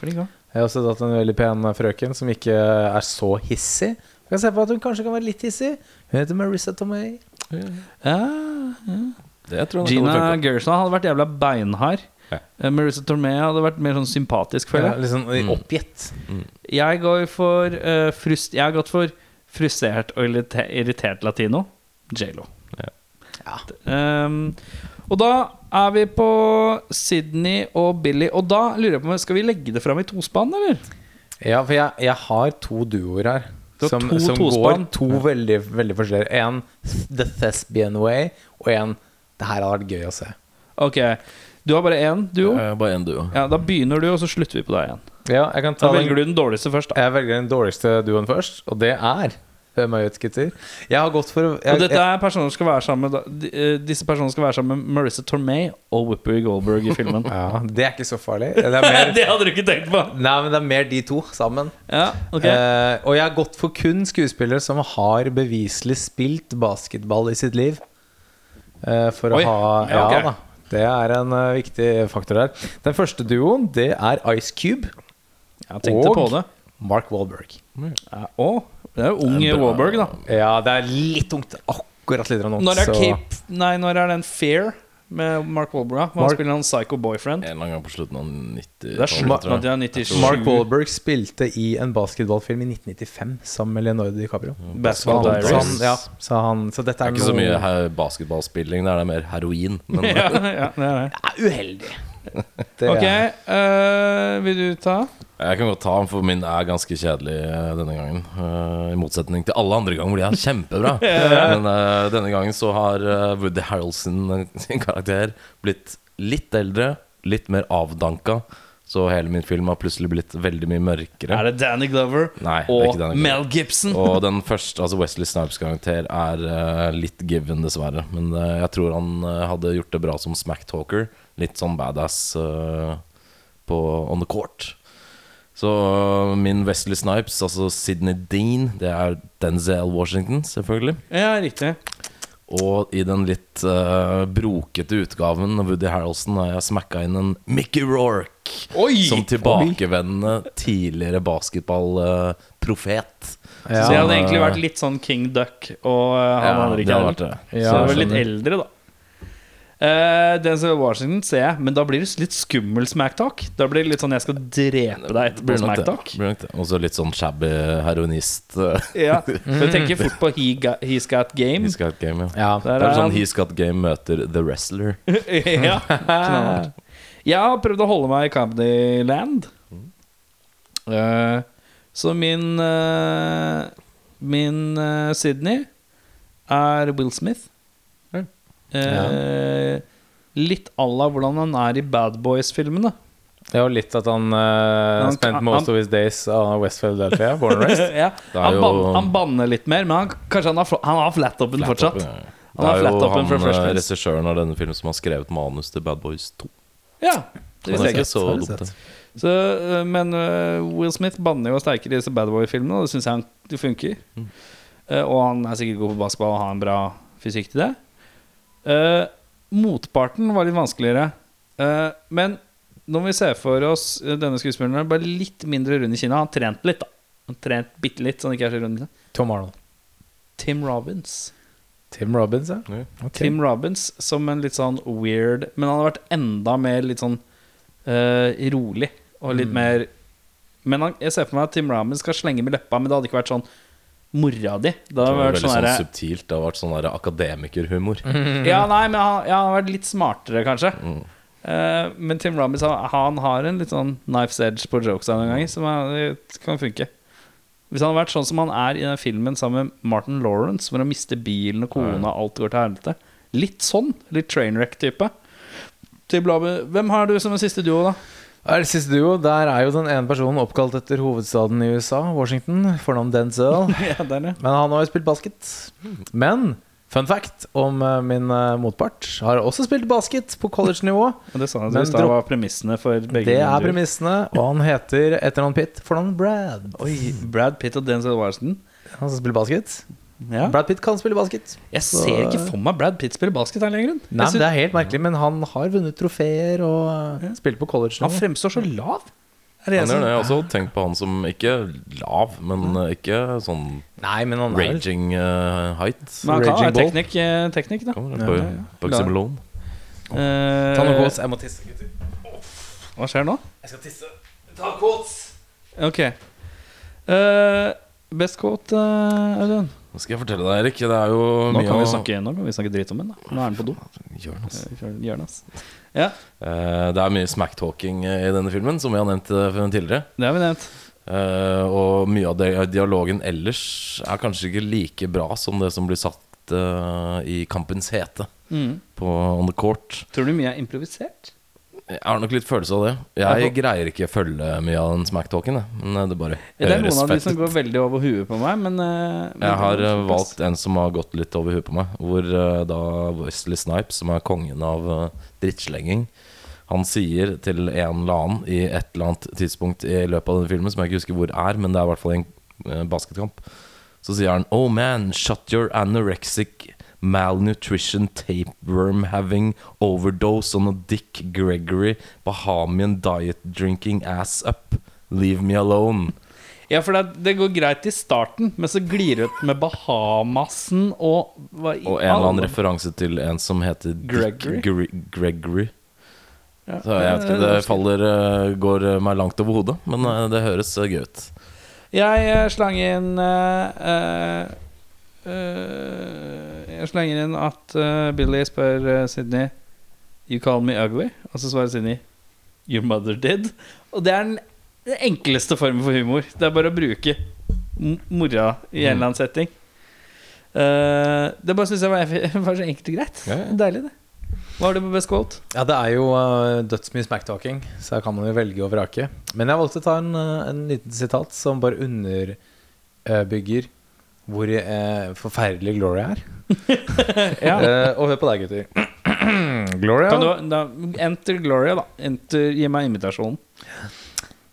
Speaker 1: Flink, ja.
Speaker 4: Jeg har også hatt en veldig pen eh, frøken som ikke eh, er så hissig. Jeg kan se på at hun kanskje kan være litt hissig. Hun heter Marissa Tomei.
Speaker 1: Ja, ja.
Speaker 3: Det tror jeg nok
Speaker 1: Gina
Speaker 3: hadde funket.
Speaker 1: Gershon hadde vært jævla beinhard.
Speaker 3: Ja.
Speaker 1: Eh, Marissa Tormé hadde vært mer sånn sympatisk,
Speaker 4: Ja,
Speaker 1: føler jeg.
Speaker 4: litt sånn oppgitt.
Speaker 1: Jeg går for eh, frust, Jeg har gått for frustrert og irrite- irritert latino. J.Lo. Ehm, og da er vi på Sydney og Billy, og da lurer jeg på om Skal vi legge det fram i tospann, eller?
Speaker 4: Ja, for jeg, jeg har to duoer her.
Speaker 1: Du har
Speaker 4: Som,
Speaker 1: to
Speaker 4: som går
Speaker 1: tospann.
Speaker 4: to veldig, veldig forskjellige. En The Thespian Way, og en Det her hadde vært gøy å se.
Speaker 1: Ok, Du har bare én duo.
Speaker 3: Eh, Bare én duo.
Speaker 1: Ja, Da begynner du, og så slutter vi på deg igjen.
Speaker 4: Ja, jeg kan ta
Speaker 1: Da
Speaker 4: den-
Speaker 1: velger du den dårligste først. da
Speaker 4: Jeg velger den dårligste duoen først, og det er Hør meg ut, gutter. Jeg har gått for jeg,
Speaker 1: Og dette er personer som skal være sammen med da- de- eh, Disse personene skal være sammen med Marissa Tormé og Whoopi Goldberg i filmen.
Speaker 4: jeg, ja, Det er ikke så farlig. Det er mer,
Speaker 1: det hadde du ikke tenkt på!
Speaker 4: nei, men det er mer de to sammen.
Speaker 1: Ja, ok
Speaker 4: Eh, og jeg har gått for kun skuespillere som har beviselig spilt basketball i sitt liv. Eh, for å
Speaker 1: Oi.
Speaker 4: ha Ja,
Speaker 1: Ja, ok.
Speaker 4: da. Det er en eh, viktig faktor her. Den første duoen, det er Ice Cube
Speaker 1: Jeg tenkte
Speaker 4: og-
Speaker 1: på det.
Speaker 4: Mark Wahlberg.
Speaker 1: Ja, å, det er jo ung
Speaker 3: Det er bra.
Speaker 1: Wahlberg, da.
Speaker 4: Ja, det er litt tungt. Akkurat litt vondt.
Speaker 1: Når er,
Speaker 4: så-
Speaker 1: Cape, nei, når er den Fair med Eh, Mark Wahlberg? da? Hvor
Speaker 4: Mark-
Speaker 1: Han spiller en psycho boyfriend.
Speaker 3: En eller annen gang på slutten av 90-tallet.
Speaker 1: Det er slutten av
Speaker 3: tror jeg.
Speaker 1: de er 97.
Speaker 4: Mark Wahlberg spilte i en basketballfilm i 1995 sammen med Leonardo DiCaprio.
Speaker 1: Basketball
Speaker 4: Så han-
Speaker 1: Diaries.
Speaker 4: Så, han, ja, så, han, så
Speaker 3: Mm.
Speaker 4: dette
Speaker 3: Det
Speaker 4: er,
Speaker 3: er ikke så
Speaker 4: noe-
Speaker 3: mye her basketballspilling, det er det mer heroin. Men
Speaker 1: ja, ja, det er det.
Speaker 4: det
Speaker 1: Ok,
Speaker 4: er-
Speaker 1: eh, vil du ta?
Speaker 3: jeg kan godt ta den, for min er ganske kjedelig eh, denne gangen. Eh, I motsetning til alle andre ganger hvor de er kjempebra. Men eh, denne gangen så har eh, Woody Harrelson eh, sin karakter blitt litt eldre, litt mer avdanka. Så hele min film har plutselig blitt veldig mye mørkere.
Speaker 1: Er det Danny Glover
Speaker 3: Nei, det er
Speaker 1: og
Speaker 3: ikke Danny Glover.
Speaker 1: Mel Gibson?
Speaker 3: Og den første, altså Wesley Snipes karakter, er eh, litt given, dessverre. Men eh, jeg tror han eh, hadde gjort det bra som smacktalker. Litt sånn badass eh, på on the court. Så eh, min Wesley Snipes, altså Sydney Dean, det er Denzel Washington, selvfølgelig.
Speaker 1: Ja, riktig.
Speaker 3: Og i den litt eh, brokete utgaven av Woody Harrelson har jeg smakka inn en Mickey Rorke.
Speaker 1: Oi!
Speaker 3: Som tilbakevendende tidligere basketballprofet.
Speaker 4: Ja.
Speaker 1: Så det hadde egentlig vært litt sånn King Duck og eh, han andre
Speaker 3: det hadde vært
Speaker 1: karen.
Speaker 3: det. sånn-
Speaker 1: Så det
Speaker 4: Ja,
Speaker 1: var litt
Speaker 3: skjønner.
Speaker 1: eldre, da. Eh, Denzel Washington ser jeg, men da blir det litt skummel smacktalk. Da blir det litt sånn 'jeg skal drepe deg etterpå'
Speaker 3: Blir nok det.
Speaker 1: smacktalk.
Speaker 3: Blir nok det. Og så litt sånn shabby heroinist. eh,
Speaker 1: Ja. Så jeg tenker fort på he got, He's Got Game.
Speaker 3: He's Got Game, ja.
Speaker 4: ja.
Speaker 3: Det
Speaker 1: Der
Speaker 3: er
Speaker 1: er han.
Speaker 3: sånn He's Got Game møter The Wrestler.
Speaker 1: ja. Mm. Knallhardt. Jeg har prøvd å holde meg i Comedyland. Eh, så min eh, Min eh, Sydney er Will Smith. Eh, Litt à la hvordan han er i Bad Boys-filmene.
Speaker 4: Det er jo litt at han eh,
Speaker 1: Han-
Speaker 4: spent
Speaker 1: han-
Speaker 4: most of his days on West Philadelphia. Born and raised.
Speaker 1: ja.
Speaker 3: er
Speaker 1: han,
Speaker 3: jo-
Speaker 1: ban han banner litt mer, men han, kanskje han har, fl- han har flat-open fortsatt.
Speaker 3: Flat-toppen, ja.
Speaker 1: Han har
Speaker 3: Det er jo
Speaker 1: flat-topen fra
Speaker 3: han
Speaker 1: Fresh
Speaker 3: eh,
Speaker 1: Prince.
Speaker 3: regissøren av denne filmen som har skrevet manus til Bad Boys 2.
Speaker 1: Ja,
Speaker 3: Det
Speaker 1: det visste
Speaker 3: er
Speaker 1: jeg ikke.
Speaker 3: ikke så
Speaker 4: Har du
Speaker 3: dumt. det.
Speaker 1: Så, øh, men øh, Will Smith banner jo sterkere i disse Bad Boy-filmene, og det syns jeg han, det funker. Eh, og han er sikkert god på basketball og har en bra fysikk til det. Eh, motparten var litt vanskeligere. Eh, men når vi ser for oss eh, denne skuespilleren bare litt mindre rund i kinna Han trente litt, da. Han trent bitte litt, så han ikke er så rund. i kinna.
Speaker 4: Tom Arnold.
Speaker 1: Tim Robbins.
Speaker 4: Tim Robbins, ja.
Speaker 3: Ja.
Speaker 4: Ok.
Speaker 1: Tim Robbins som en litt sånn weird Men han har vært enda mer litt sånn eh, rolig og litt mer Men han, jeg ser for meg at Tim Robbins skal slenge med leppa, men det hadde ikke vært sånn mora di.
Speaker 3: Det
Speaker 1: Det hadde
Speaker 3: var
Speaker 1: vært
Speaker 3: veldig
Speaker 1: sånn
Speaker 3: sånn
Speaker 1: derre
Speaker 3: subtilt. Det har vært sånn der akademikerhumor.
Speaker 4: Mm.
Speaker 1: Ja, nei, men han, ja, han har vært litt smartere, kanskje. Eh, men Tim Robbins han, han har en litt sånn knife's edge på jokesa noen ganger, som er, det kan funke. Hvis han hadde vært sånn som han er i den filmen sammen med Martin Lawrence, hvor han mister bilen og kona, alt går til helvete. Litt sånn. Litt trainwreck-type. Tim Robbins- Hvem har du som en siste duo, da?
Speaker 4: Er det siste duo, Der er jo den ene personen oppkalt etter hovedstaden i USA, Washington. Fornavn Denzel.
Speaker 1: ja, der, ja.
Speaker 4: Men han har jo spilt basket. Men fun fact om eh, min eh, motpart har også spilt basket på college-nivå.
Speaker 1: Og Det sa han
Speaker 4: Men
Speaker 1: i stad
Speaker 4: dropp-
Speaker 1: var premissene for begge.
Speaker 4: Det er
Speaker 1: duoer.
Speaker 4: premissene, og han heter etter navn Pitt fornavn Brad.
Speaker 1: Oi, Brad Pitt og Denzel Washington.
Speaker 4: Han som spiller basket.
Speaker 1: Ja.
Speaker 4: Brad Pitt kan spille basket.
Speaker 1: Jeg ser ikke for meg Brad Pitt spille basket av en eller annen grunn. Jeg
Speaker 4: Nei,
Speaker 1: synes-
Speaker 4: men Det er helt merkelig, men han har vunnet trofeer og eh, spilt på college.
Speaker 1: Han
Speaker 4: nå.
Speaker 1: fremstår så lav. Er det jeg
Speaker 3: Han gjør
Speaker 1: som
Speaker 3: det. Jeg har
Speaker 4: sånn-
Speaker 3: også tenkt på han som ikke lav, men
Speaker 4: Mhm.
Speaker 3: eh, ikke sånn
Speaker 4: Nei, men han er
Speaker 3: raging eh, height.
Speaker 1: Men han kan
Speaker 4: Raging
Speaker 1: være
Speaker 4: Bull.
Speaker 1: teknikk, eh, teknikk da.
Speaker 3: Kommer det på Bugsy
Speaker 1: Ja.
Speaker 3: Malone.
Speaker 1: Eh,
Speaker 4: Ta noe kås. Jeg må tisse, gutter.
Speaker 1: hva skjer nå?
Speaker 4: Jeg skal tisse. Ta kås.
Speaker 1: Ok. Eh, best quote, eh, Audun?
Speaker 3: Nå skal jeg fortelle deg, Erik. Det er jo
Speaker 1: Nå
Speaker 3: mye
Speaker 1: kan, vi
Speaker 3: å-
Speaker 1: snakke, nå kan vi snakke dritt om den. da Nå er den på do.
Speaker 3: Gjør den, altså.
Speaker 1: Eh, kjør- gjør den, ass. Ja,
Speaker 3: Eh, Det er mye smacktalking eh, i denne filmen, som vi har nevnt eh, tidligere.
Speaker 1: det har vi nevnt.
Speaker 3: Eh, og mye av det, dialogen ellers er kanskje ikke like bra som det som blir satt eh, i kampens hete
Speaker 1: Mm.
Speaker 3: på On the Court.
Speaker 1: Tror du mye er improvisert?
Speaker 3: Jeg har nok litt følelse av det. Jeg greier ikke å følge mye av den smacktalken. jeg. Men eh, det bare
Speaker 1: Ja, Det er noen
Speaker 3: høres
Speaker 1: av de
Speaker 3: fett
Speaker 1: som
Speaker 3: ut.
Speaker 1: går veldig over huet på meg, men, eh, men
Speaker 3: Jeg har eh, valgt en som har gått litt over huet på meg. Hvor eh, da Wesley Snipes, som er kongen av eh, drittslenging, han sier til en eller annen i et eller annet tidspunkt i løpet av denne filmen, som jeg ikke husker hvor er, men det er i hvert fall i en eh, basketkamp, så sier han Oh man, shut your anorexic malnutrition tapeworm having overdose on a Dick Gregory Bahamian diet drinking ass up. Leave me alone.
Speaker 1: Ja, for det, det går greit i starten, men så glir det ut med Bahamasen og hva i
Speaker 3: Og en eller annen
Speaker 1: alle-
Speaker 3: referanse til en som heter Dick
Speaker 1: Gregory?
Speaker 3: Gre- Gregory.
Speaker 1: Ja,
Speaker 3: Så jeg vet ikke,
Speaker 1: eh,
Speaker 3: det faller eh, går meg langt over hodet, men eh, det høres eh, gøy ut.
Speaker 1: Jeg eh, slang inn eh, eh, eh, Jeg slenger inn at eh, Billy spør eh, Sydney You call me ugly? Og så svarer Sydney Your mother did. Og det er den, den enkleste formen for humor. Det er bare å bruke m- mora i en eller annen setting. Eh, det bare syns jeg var, var så enkelt og greit.
Speaker 3: Ja, ja.
Speaker 1: Deilig, det. Hva har du på best quote?
Speaker 4: Ja, det er jo uh, dødsmye smacktalking, så her kan man jo velge og vrake. Men jeg valgte å ta en, eh, en liten sitat som bare underbygger hvor eh, forferdelig Gloria er. Eh, og hør på deg, gutter. Gloria
Speaker 1: Kan du, da, enter Gloria, da. Enter, gi meg invitasjonen.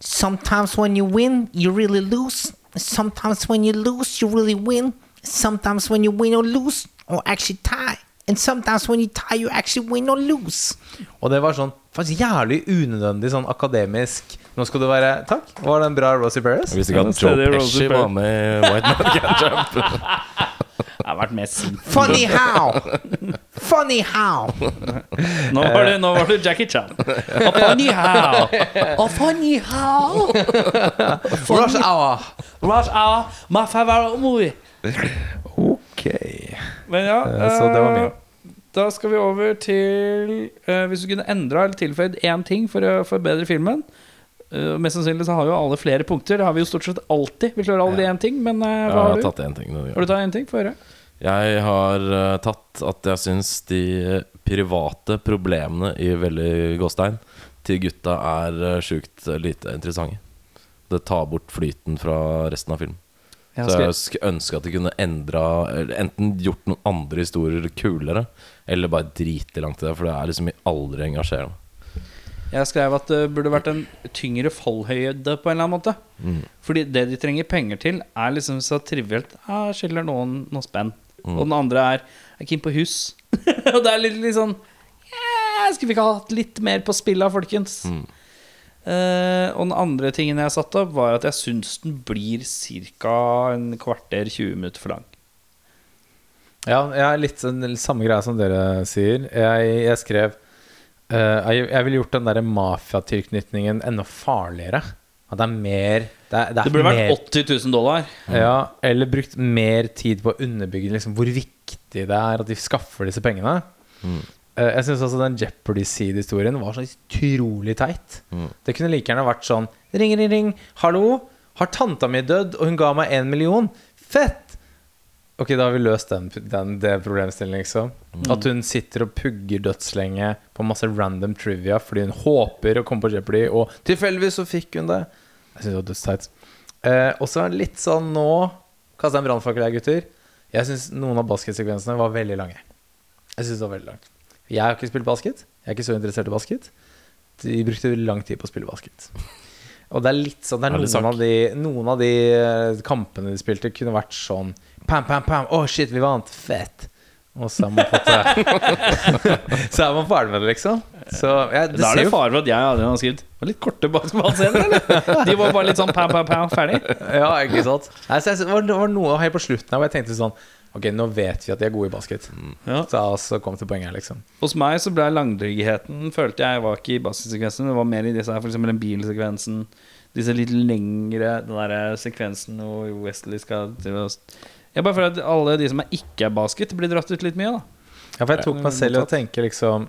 Speaker 6: Sometimes when you win, you really lose. Sometimes when you lose, you really win. Sometimes when you win or lose, or actually tie. And sometimes when you tie, you actually win or lose.
Speaker 4: Og det var sånn faktisk jævlig unødvendig sånn akademisk Nå skal du være Takk. Var det en bra Rosie Perez?
Speaker 3: Jeg visste
Speaker 1: Ja,
Speaker 3: ikke
Speaker 1: da
Speaker 3: at Joe
Speaker 1: ser det Rosie
Speaker 3: Pesci
Speaker 1: Perez.
Speaker 3: var med i White Man Can't Jump.
Speaker 1: Jeg har vært mer sint.
Speaker 6: Funny how. Funny how.
Speaker 1: Nå var det, nå var det Jackie Chan. Og funny how. Og funny how.
Speaker 4: Rush Hour.
Speaker 1: Rush hour, my favorite movie.
Speaker 4: Ok.
Speaker 1: Men ja,
Speaker 4: Eh, så det var min.
Speaker 1: eh, da skal vi over til eh, Hvis du kunne endra eller tilføyd én ting for å forbedre filmen eh, Mest sannsynlig så har jo alle flere punkter. Det har vi jo stort sett alltid. Vi klarer aldri én ting, men eh,
Speaker 3: Jeg
Speaker 1: hva
Speaker 3: har
Speaker 1: har du?
Speaker 3: tatt én ting. denne
Speaker 1: Har
Speaker 3: gangen.
Speaker 1: du tatt én ting? Få høre.
Speaker 3: Jeg har eh, tatt at jeg syns de private problemene i veldig gåstein til gutta er eh, sjukt lite interessante. Det tar bort flyten fra resten av filmen.
Speaker 1: Jeg
Speaker 3: Så
Speaker 1: har
Speaker 3: jeg skulle ønske at de kunne endra eller Enten gjort noen andre historier kulere, eller bare driti langt i det, for det er liksom aldri engasjerende.
Speaker 1: Jeg skrev at det burde vært en tyngre fallhøyde på en eller annen måte. Fordi det de trenger penger til, er liksom så trivielt ah, Skylder noen noe spenn. Og den andre er er keen på hus. Og det er litt, litt sånn «Ja, Skulle vi ikke ha hatt litt mer på spillet, folkens? Eh, og den andre tingen jeg satte opp, var at jeg syns den blir ca. en kvarter, 20 minutter for lang.
Speaker 4: Ja, jeg er litt sånn- samme greia som dere sier. Jeg, jeg skrev eh, jeg, jeg ville gjort den der mafiatilknytningen enda farligere. At det er mer Det, er, det, er
Speaker 1: Det burde
Speaker 4: mer,
Speaker 1: vært Mm. 80 000 dollar.
Speaker 4: Ja, eller brukt mer tid på å underbygge liksom, hvor viktig det er at de skaffer disse pengene. Eh, Jeg syns også den Jeopardy-sidehistorien var så utrolig teit. Det kunne like gjerne vært sånn Ring, ring, ring. Hallo? Har tanta mi dødd, og hun ga meg én million? Fett! Ok, da har vi løst den, den det problemstillingen, liksom. At hun sitter og pugger dødslenge på masse random trivia fordi hun håper å komme på Jeopardy, og tilfeldigvis så fikk hun det. Jeg syns det var dødsteit. Eh, og så er det litt sånn nå Kasta en brannfakkel her, gutter. Jeg syns noen av basketsekvensene var veldig lange. Jeg synes det var veldig langt Jeg har ikke spilt basket. Jeg er ikke så interessert i basket. De brukte lang tid på å spille basket. Og det er litt sånn det er
Speaker 3: Ærlig sak.
Speaker 4: noen, av de, noen av de eh, kampene de spilte, kunne vært sånn Pam, pam, pam. Å, shit, vi vant. Fett. Og så er man på det. så er man ferdig med det, liksom. Så jeg, det
Speaker 1: Da er
Speaker 4: ser
Speaker 1: det
Speaker 4: jo
Speaker 1: fare for at jeg og Adrian har skrevet
Speaker 5: Det var litt korte basketballscener, eller? De var bare litt sånn pow, pow, pow, ferdig.
Speaker 4: Ja, ikke sant? Nei, så jeg, det, var, det var noe helt på slutten her hvor jeg tenkte sånn Ok, nå vet vi at de er gode i basket.
Speaker 5: Ja.
Speaker 4: Så altså kom til poenget her, liksom.
Speaker 5: Hos meg så ble langdrygheten Følte jeg var ikke i basketsekvensen. Det var mer i disse her, for eksempel den bilsekvensen. Disse litt lengre Den der eh, sekvensen hvor Wesley skal til å Jeg bare føler at alle de som er ikke er basket, blir dratt ut litt mye. da
Speaker 4: Ja, for jeg tok meg selv i å tenke liksom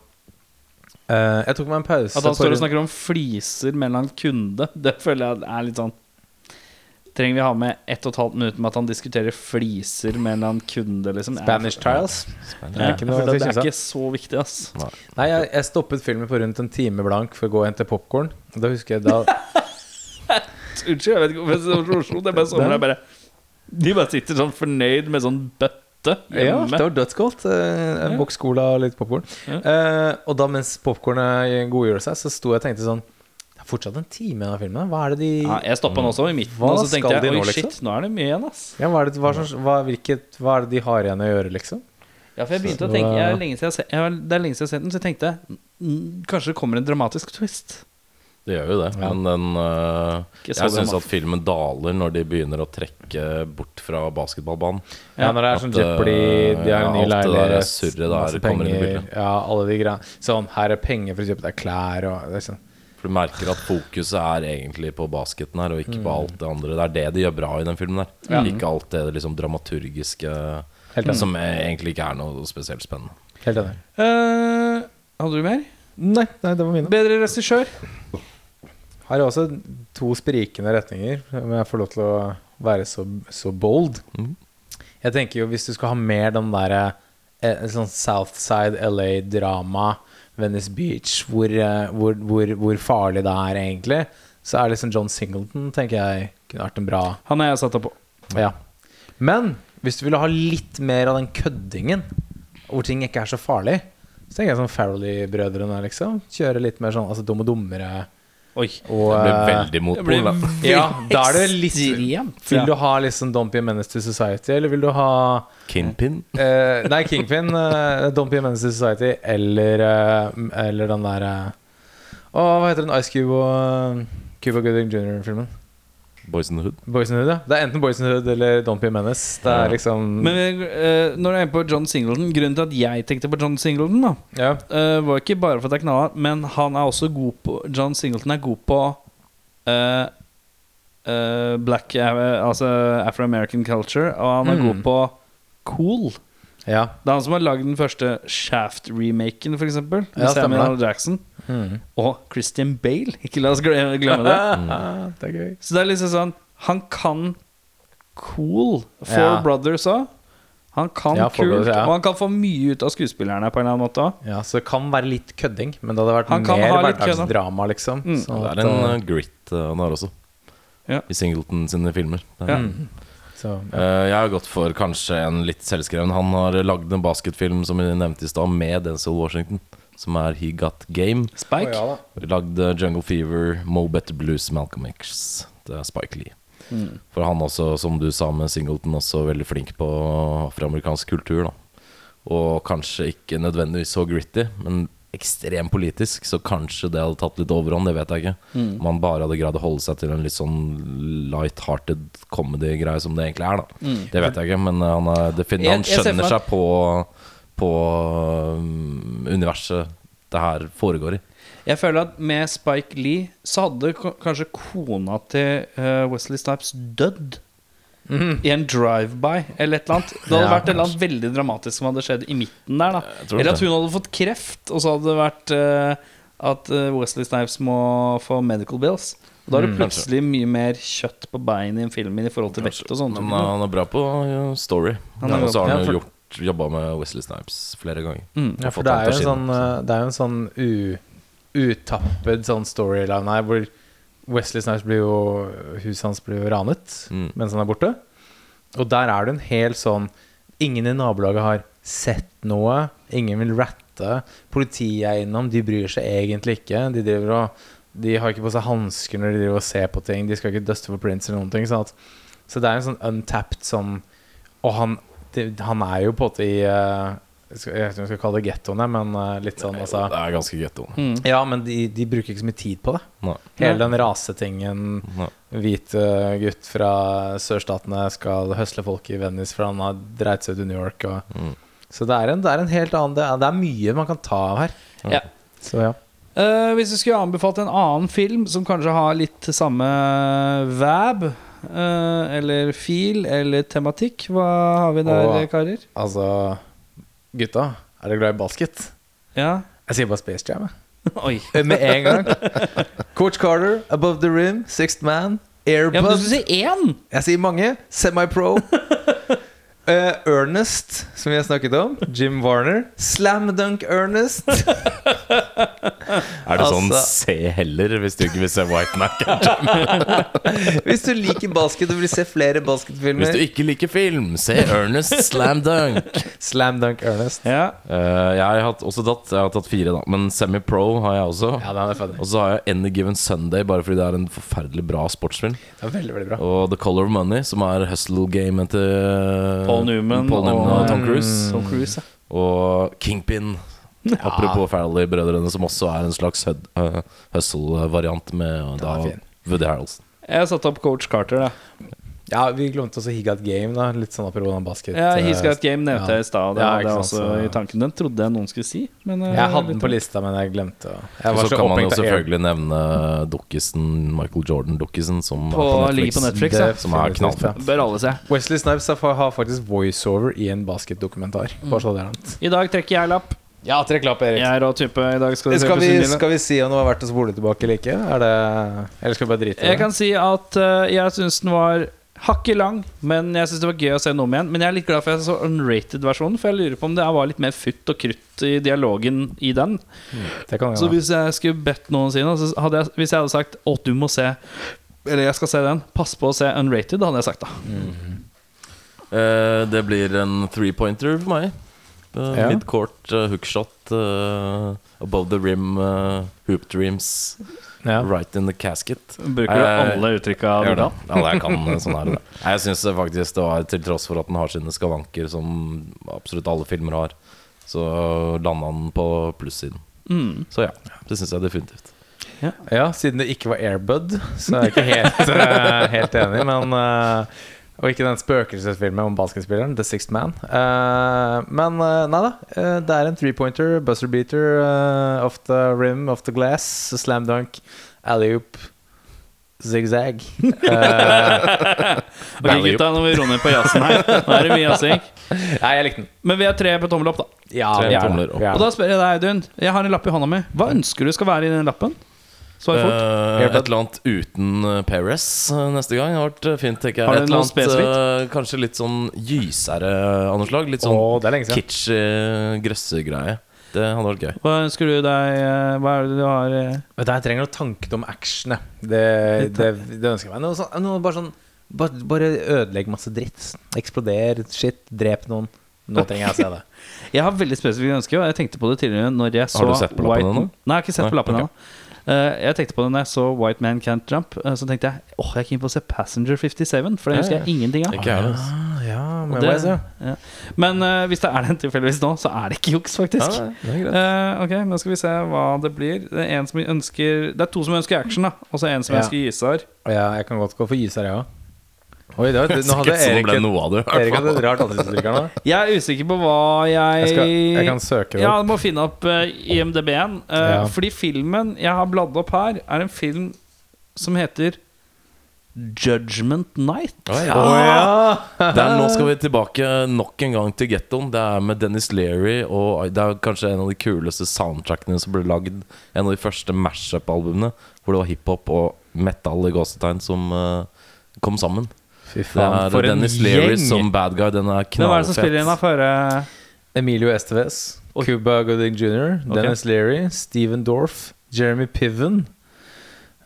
Speaker 4: eh, Jeg tok meg en pause
Speaker 5: At han står og
Speaker 4: rundt-
Speaker 5: snakker om fliser mellom kunde, det føler jeg er litt sånn Trenger vi ha med ett og et halvt minutt med at han diskuterer fliser mellom kunde, liksom? Jeg-
Speaker 4: Spanish Trials.
Speaker 5: Ja, jeg
Speaker 4: Ikke noe
Speaker 5: føler at det
Speaker 4: synes
Speaker 5: er
Speaker 4: jeg.
Speaker 5: ikke så viktig, ass.
Speaker 4: Nei, jeg, jeg stoppet filmen på rundt en time blank for å gå og hente popkorn. Da husker jeg da
Speaker 5: Unnskyld, jeg vet ikke hvorfor jeg sitter i Oslo. Det er bare sommer. Jeg bare, de bare sitter sånn fornøyd med sånn bøtte
Speaker 4: Ja, det
Speaker 5: hjemme.
Speaker 4: var dødsgodt. Eh, En boks cola og litt popkorn. og da mens popkornet godgjorde seg, så sto jeg og tenkte sånn Det er fortsatt en time igjen av filmen. Hva er det de
Speaker 5: Ja, jeg stoppa den også i midten,
Speaker 4: Hva
Speaker 5: og så tenkte
Speaker 4: skal de
Speaker 5: jeg
Speaker 4: nå,
Speaker 5: oi,
Speaker 4: liksom?»
Speaker 5: shit, nå er det mye igjen, ass.
Speaker 4: Ja, hva er det, hva, er som- hva, hvilket, hva er det de har igjen å gjøre, liksom?
Speaker 5: Ja, for jeg begynte
Speaker 4: Så-
Speaker 5: å tenke jeg, er lenge siden jeg, har sett- jeg, har- Det er lenge siden jeg har sett den, så jeg tenkte mm, kanskje det kommer en dramatisk twist.
Speaker 3: Det gjør jo det, men den øh,
Speaker 5: Ikke så
Speaker 3: Jeg syns
Speaker 5: dramatisk.
Speaker 3: at filmen daler når de begynner å trekke bort fra basketballbanen.
Speaker 4: Ja, når det er sånn
Speaker 3: At, eh,
Speaker 4: Jeopardy, de har en
Speaker 3: ja,
Speaker 4: ny
Speaker 3: alt det der
Speaker 4: leilighet,
Speaker 3: surret der
Speaker 4: masse
Speaker 3: kommer inn i
Speaker 4: penger,
Speaker 3: bildet.
Speaker 4: Ja, alle de greiene. Sånn, her er penger for å kjøpe deg klær og det er sånn.
Speaker 3: For Du merker at fokuset er egentlig på basketen her, og ikke
Speaker 4: Mm.
Speaker 3: på alt det andre. Det er det de gjør bra i den filmen der. Ikke alt det liksom dramaturgiske
Speaker 4: enig.
Speaker 3: som egentlig ikke er noe spesielt spennende.
Speaker 4: Helt enig.
Speaker 5: Eh, hadde du mer?
Speaker 4: Nei, nei, det var mine.
Speaker 5: Bedre regissør?
Speaker 4: Her er også to sprikende retninger, om jeg får lov til å være så, så bold.
Speaker 3: Mm.
Speaker 4: Jeg tenker jo, hvis du skal ha mer den derre eh, sånn Southside LA-drama, Venice Beach, hvor, eh, hvor, hvor, hvor farlig det er egentlig, så er liksom John Singleton, tenker jeg, kunne vært en bra
Speaker 5: Han har jeg satt opp på.
Speaker 4: ja. Men hvis du ville ha litt mer av den køddingen, hvor ting ikke er så farlig, så tenker jeg sånn Farrelly-brødrene, liksom. Kjøre litt mer sånn altså, dum og dummere.
Speaker 5: Oi.
Speaker 4: Og,
Speaker 3: Det blir
Speaker 4: eh,
Speaker 3: veldig
Speaker 5: Det
Speaker 3: motpol.
Speaker 5: blir
Speaker 3: da.
Speaker 4: ja, da er det litt
Speaker 5: ekstremt.
Speaker 4: Vil
Speaker 5: Ja.
Speaker 4: du ha liksom Don't be a menace to society, eller vil du ha
Speaker 3: Kingpin.
Speaker 4: eh, Nei, Kingpin, eh, Don't be a menace to society, eller, eh, eller den der eh, Å, hva heter den Ice Cube og eh, Cuba Gooding Jr.-filmen?
Speaker 3: Boys in the Hood.
Speaker 4: Boys in the Hood, ja. Det er enten Boys in the Hood eller Don't be a menace. Det er liksom
Speaker 5: Men eh, når jeg er på John Singleton Grunnen til at jeg tenkte på John Singleton, da
Speaker 4: ja.
Speaker 5: Eh, var ikke bare for at jeg knalla, men han er også god på John Singleton er god på eh, eh, black eh, Altså Afro-American culture, og han er god
Speaker 4: Mm.
Speaker 5: på cool.
Speaker 4: ja.
Speaker 5: Det er han som har lagd den første Shaft-remaken, for eksempel Med
Speaker 4: Ja, stemmer Mm.
Speaker 5: Samuel
Speaker 4: det.
Speaker 5: L. Jackson. Og Christian Bale. Ikke la oss glemme, glemme det.
Speaker 3: Mm.
Speaker 4: Det er gøy.
Speaker 5: Så det er liksom sånn Han kan cool. Four
Speaker 4: Ja.
Speaker 5: Brothers òg. Han kan
Speaker 4: Ja, Four
Speaker 5: kult,
Speaker 4: Brothers, ja.
Speaker 5: og han kan få mye ut av skuespillerne på en eller annen måte òg.
Speaker 4: Ja, så det kan være litt kødding, men det hadde vært
Speaker 5: Han kan
Speaker 4: mer
Speaker 5: ha litt Mm.
Speaker 4: hverdagsdrama, liksom. Sånn
Speaker 3: Det
Speaker 4: at,
Speaker 3: er en
Speaker 4: eh,
Speaker 3: eh, grit eh, han har også,
Speaker 5: Ja.
Speaker 3: i Singleton sine filmer. Det er-
Speaker 5: Ja.
Speaker 4: så, ja.
Speaker 3: Eh, Jeg har gått for kanskje en litt selvskreven. Han har lagd en basketfilm som vi nevnte i stad, med Denzel Washington, som er He Got Game.
Speaker 5: Spike.
Speaker 4: ja da.
Speaker 3: Lagd eh, Jungle Fever, Mo Better Blues, Malcolm X. Det er Spike Lee. For han også, som du sa med Singleton, også veldig flink på afroamerikansk kultur. da Og kanskje ikke nødvendigvis så gritty, men ekstremt politisk, så kanskje det hadde tatt litt overhånd. Det vet jeg ikke.
Speaker 5: Mm.
Speaker 3: Om han bare hadde greid å holde seg til en litt sånn light-hearted comedy-greie som det egentlig er. da Det vet jeg ikke, men eh, han, er defin han
Speaker 5: Mm. Jeg- jeg ser for meg
Speaker 3: skjønner
Speaker 5: at-
Speaker 3: seg på, på um, universet det her foregår i.
Speaker 5: Jeg føler at med Spike Lee så hadde k- kanskje kona til eh, Wesley Snipes dødd.
Speaker 3: Mhm.
Speaker 5: I en drive-by eller et eller annet. Det hadde
Speaker 4: Ja,
Speaker 5: vært et eller annet veldig dramatisk som hadde skjedd i midten der. da
Speaker 3: tror
Speaker 5: Eller at
Speaker 3: det.
Speaker 5: hun hadde fått kreft, og så hadde det vært eh, at eh, Wesley Snipes må få medical bills. Og
Speaker 3: Mm,
Speaker 5: da er det plutselig mye mer kjøtt på beinet i en film i forhold til vekt og sånn.
Speaker 3: Men uh, han er bra på uh, story.
Speaker 5: Han er
Speaker 3: Og så
Speaker 5: bra Mm.
Speaker 3: har
Speaker 4: på-
Speaker 3: han
Speaker 4: Ja, for-
Speaker 3: jo gjort jobba med Wesley Snipes flere ganger.
Speaker 4: Ja,
Speaker 3: Og
Speaker 4: for
Speaker 3: fått
Speaker 4: det
Speaker 3: han
Speaker 4: er jo
Speaker 3: til å
Speaker 4: en sånn,
Speaker 3: skinne.
Speaker 4: eh, det er jo en sånn u, utappet sånn storyline her, hvor Wesley Snipes blir jo Huset hans blir jo ranet
Speaker 3: Mm.
Speaker 4: mens han er borte. Og der er det en hel sånn Ingen i nabolaget har sett noe. Ingen vil ratte. Politiet er innom. De bryr seg egentlig ikke. De driver og De har ikke på seg hansker når de driver og ser på ting. De skal ikke duste for prints eller noen ting. Sånn at, så det er en sånn untapped sånn Og han, det, han er jo på en måte i eh, Jeg skal- jeg vet ikke om jeg skal kalle det gettoene, men eh, litt sånn, altså
Speaker 3: Det er ganske getto.
Speaker 5: Mm.
Speaker 4: Ja, men de, de bruker ikke så mye tid på det.
Speaker 3: Nei.
Speaker 4: Hele den rasetingen Hvit eh, gutt fra sørstatene skal høsle folk i Venice, for han har dreit seg ut i New York. Og. Så det er, en, det er en helt annen Det er, det er mye man kan ta av her.
Speaker 5: Ja.
Speaker 4: Så ja.
Speaker 5: Eh, hvis du skulle anbefalt en annen film som kanskje har litt samme vab, eh, eller fil, eller tematikk, hva har vi der,
Speaker 4: Åh.
Speaker 5: karer?
Speaker 4: Altså, gutta, er dere glad i basket?
Speaker 5: Ja.
Speaker 4: Jeg sier bare Space Jam, jeg. Eh,
Speaker 5: Oi.
Speaker 4: Med en gang. Coach Carter, Above the Rim, Sixth Man,
Speaker 5: Ja, men du
Speaker 4: Airbus
Speaker 5: skulle si én!
Speaker 4: Jeg sier mange. Semi-pro. Eh, Ernest, som vi har snakket om. Jim Warner. Slam Dunk Ernest.
Speaker 3: Er det sånn
Speaker 4: Altså-
Speaker 3: se heller, hvis du ikke vil se White Mac?
Speaker 4: Hvis du liker basket og vil se flere
Speaker 3: Hvis du
Speaker 4: basketfilmer.
Speaker 3: ikke liker film, se Ernest Slam Dunk.
Speaker 4: Slam Dunk Ernest.
Speaker 5: Ja.
Speaker 3: Eh, jeg har hatt, også tatt, jeg har tatt fire, da. Men semi-pro har jeg også.
Speaker 4: Ja, den er ferdig.
Speaker 3: Og så har jeg Any Given Sunday, bare fordi det er en forferdelig bra sportsfilm.
Speaker 4: Det er veldig, veldig bra.
Speaker 3: Og The Color of Money, som er hustle-gamet til
Speaker 5: Paul Newman
Speaker 3: Paul Newman og,
Speaker 5: og-
Speaker 3: Tom Cruise.
Speaker 5: Tom Cruise, ja.
Speaker 3: Og Kingpin. Apropos Farrelly-brødrene, som også er en slags hud- eh, hustle-variant med da,
Speaker 4: fin.
Speaker 3: Woody Harrelson.
Speaker 5: Jeg satte opp coach Carter, da.
Speaker 4: Ja, Vi glemte også He Got Game. da Litt sånn apropos den basket. eh,
Speaker 5: Ja, He's Got Game nevnte
Speaker 4: Ja.
Speaker 5: jeg i stad. og Det
Speaker 4: Ja,
Speaker 5: hadde jeg
Speaker 4: ikke
Speaker 5: også
Speaker 4: sant, så-
Speaker 5: i tanken. Den trodde jeg noen skulle si. Men, eh,
Speaker 4: Jeg hadde den
Speaker 5: litt-
Speaker 4: på lista, men jeg glemte å Jeg
Speaker 3: Og
Speaker 4: var
Speaker 3: så
Speaker 4: så
Speaker 3: kan man jo
Speaker 4: opphengt av Air-
Speaker 3: selvfølgelig nevne dukkisen Michael Jordan-dukkisen, som
Speaker 5: på,
Speaker 3: er på
Speaker 5: ligger på Netflix.
Speaker 3: Netflix.
Speaker 5: Ja.
Speaker 3: Som er
Speaker 4: Definitivt, ja.
Speaker 3: knallfett.
Speaker 5: Bør alle se.
Speaker 4: Wesley Snipes har fa- har faktisk voiceover i en basketdokumentar. Bare så det er nevnt.
Speaker 5: Mm. I dag trekker jeg lapp.
Speaker 4: Ja, trekk lapp, Erik.
Speaker 5: Jeg er rå type. I dag skal du se
Speaker 4: Skal vi,
Speaker 5: Pussindilen.
Speaker 4: skal vi si om det var verdt å spole tilbake eller ikke? Er det, eller skal vi bare drite i det?
Speaker 5: Jeg kan si at eh, jeg syns den var hakket lang, men jeg syns det var gøy å se den om igjen. Men jeg er litt glad for at jeg så unrated-versjonen, for jeg lurer på om det var litt mer futt og krutt i dialogen i den.
Speaker 4: det kan vi
Speaker 5: Så
Speaker 4: gjøre.
Speaker 5: hvis jeg skulle bedt noen si noe, så hadde jeg, hvis jeg hadde sagt å, du må se eller jeg skal se den. Pass på å se Unrated, hadde jeg sagt da.
Speaker 3: Eh, det blir en three-pointer for meg. Uh,
Speaker 4: Ja.
Speaker 3: Midcourt, eh, hookshot, eh, above the rim, eh, hoop dreams,
Speaker 4: Ja.
Speaker 3: right in the casket.
Speaker 5: Bruker du
Speaker 3: Eh,
Speaker 5: alle uttrykka du
Speaker 3: Gjør det.
Speaker 5: kan?
Speaker 3: Ja, det jeg kan eh, sånn er det. Nei, Jeg syns faktisk det var, til tross for at den har sine skavanker, som absolutt alle filmer har, så landa den på plussiden.
Speaker 5: Mm.
Speaker 3: Så ja, det syns jeg definitivt.
Speaker 4: ja, siden det ikke var Airbud, så er jeg ikke helt, eh, helt enig, men eh, Og ikke den spøkelsesfilmen om basketspilleren, The Sixth Man. Eh, men eh, nei da. eh, det er en three-pointer, buzzer beater, eh, off the rim, off the glass, slam dunk, alley-oop, zigzag. Eh,
Speaker 5: Ok, gutta, nå må vi roe ned på jazzen her. Nå er det mye jazzing.
Speaker 4: nei, jeg likte den.
Speaker 5: Men vi er tre på tommel opp, da.
Speaker 4: Ja,
Speaker 3: Tre
Speaker 4: vi er
Speaker 3: tomler
Speaker 4: der.
Speaker 3: opp.
Speaker 4: Vi er
Speaker 5: Og da spør jeg deg, Audun. Jeg har en lapp i hånda mi. Hva ønsker du skal være i den lappen? Svar fort.
Speaker 3: Eh,
Speaker 4: Airbud.
Speaker 3: et eller annet uten eh, Perez eh, neste gang har vært eh, fint, tenker jeg.
Speaker 5: Har du
Speaker 3: Et eller
Speaker 5: noe
Speaker 3: annet, eh, kanskje litt sånn gysere av noe slag. Litt sånn
Speaker 4: Å, det er lenge siden.
Speaker 3: kitschy eh, grøssegreie. Det hadde vært gøy.
Speaker 5: Hva ønsker du deg eh, Hva er det du har eh?
Speaker 4: Vet du, jeg trenger noe tanket om action. jeg. Det, det, det ønsker jeg meg. Noe, sånn, noe bare sånn bare, bare ødelegg masse dritt. Eksploder, shit, drep noen. Nå trenger jeg å se det.
Speaker 5: Jeg har veldig spesifikke ønsker, og jeg tenkte på det tidligere når jeg så
Speaker 3: Har du sett på lappen
Speaker 5: White-
Speaker 3: ennå?
Speaker 5: Nei, jeg har ikke sett på
Speaker 3: Nei,
Speaker 5: lappen
Speaker 3: ok.
Speaker 5: ennå. Eh, jeg tenkte på det når jeg så White Man Can't Jump. eh, så tenkte jeg åh, jeg er keen på å se Passenger 57, for det husker jeg ingenting av.
Speaker 3: Ikke jeg heller.
Speaker 4: Ah, ja, men
Speaker 5: Det-
Speaker 4: må jeg se.
Speaker 5: ja. Men eh, hvis det er den tilfeldigvis nå, så er det ikke juks, faktisk.
Speaker 3: Ja, det er greit.
Speaker 5: Eh, ok, nå skal vi se hva det blir. Det er, en som ønsker, det er to som ønsker action, da. Og så en som
Speaker 4: Ja.
Speaker 5: ønsker gysar.
Speaker 4: Å ja, jeg kan godt gå for gyser, jeg òg. Oi, det var, nå
Speaker 3: Sikkert
Speaker 4: hadde
Speaker 3: så det
Speaker 4: Erik,
Speaker 3: ble
Speaker 4: et-
Speaker 3: noe av det. i hvert
Speaker 4: Erik hadde
Speaker 3: fall.
Speaker 4: et rart ansiktsuttrykk her nå.
Speaker 5: Jeg er usikker på hva jeg
Speaker 4: Jeg, skal, jeg kan søke det
Speaker 5: Ja,
Speaker 4: opp.
Speaker 5: du må finne opp eh, IMDb-en. eh,
Speaker 4: Ja.
Speaker 5: Fordi filmen jeg har bladd opp her, er en film som heter Judgment Night.
Speaker 3: Å, ja. Der, nå skal vi tilbake nok en gang til gettoen. Det er med Dennis Leary. Og det er kanskje en av de kuleste soundtrackene som ble lagd. En av de første mashup-albumene hvor det var hiphop og metal i gåsetegn som eh, kom sammen.
Speaker 4: Fy
Speaker 3: Det
Speaker 4: faen,
Speaker 3: er
Speaker 4: for en
Speaker 3: Dennis Leary som
Speaker 4: gjeng!
Speaker 3: bad guy. Den er knallfett.
Speaker 5: Hvem er det som spiller den? da, for, eh,
Speaker 4: Emilio Estevez, Cuba Gooding jr.,
Speaker 5: Ok.
Speaker 4: Dennis Leary, Steven Dorff, Jeremy Piven.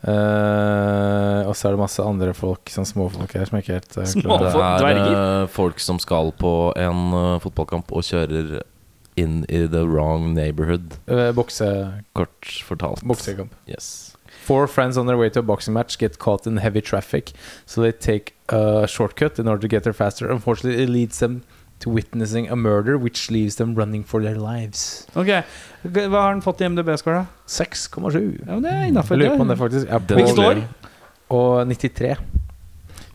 Speaker 4: Eh, og så er det masse andre folk, sånn småfolk her, som jeg ikke helt eh,
Speaker 5: Små.
Speaker 4: klarer
Speaker 3: Det
Speaker 5: For
Speaker 3: er
Speaker 5: dverger.
Speaker 3: eh, folk som skal på en eh, fotballkamp og kjører inn i the wrong neighborhood.
Speaker 4: Eh, bokse,
Speaker 3: Kort fortalt.
Speaker 4: Boksekamp.
Speaker 3: Yes.
Speaker 4: Four friends on their way to a boxing match get caught in heavy traffic, so they take a shortcut in order to get there faster. Unfortunately, it leads them to witnessing a murder which leaves them running for their lives.
Speaker 1: Ok, Hva har han fått i MDB-score, da?
Speaker 4: 6,7.
Speaker 1: Ja, men det er
Speaker 4: Jeg
Speaker 1: innafor.
Speaker 4: lurer på om det faktisk er på
Speaker 1: Hvilket år?
Speaker 4: Og 93.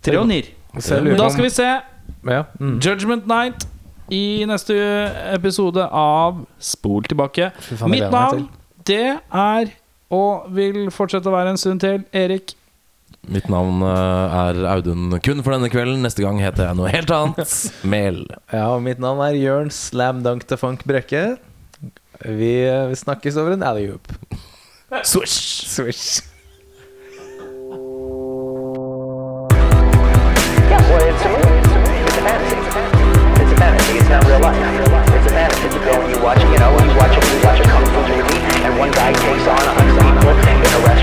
Speaker 1: Tre og nier.
Speaker 4: Så jeg
Speaker 1: Men
Speaker 4: lurer
Speaker 1: da
Speaker 4: på om
Speaker 1: skal vi se
Speaker 4: ja, mm.
Speaker 1: Judgment Night i neste episode av Spol tilbake.
Speaker 4: Fy faen, det
Speaker 1: Mitt
Speaker 4: gleder jeg meg
Speaker 1: navn, det er, og vil fortsette å være en stund til, Erik.
Speaker 3: Mitt navn eh, er Audun kun for denne kvelden. Neste gang heter jeg noe helt annet. Mel.
Speaker 4: ja, og mitt navn er Jørn Slam Dunk til Funk Brekke. Vi, eh, vi snakkes over en alley-oop.
Speaker 3: Swish!
Speaker 4: Swish.
Speaker 2: Yeah, well, it's a movie. It's a movie. It's a fantasy. It's a fantasy. It's not real life. It's a fantasy. You go and you watch it, you know, you watch it, you watch a kung fu movie, and one guy takes on a hundred people in a restaurant.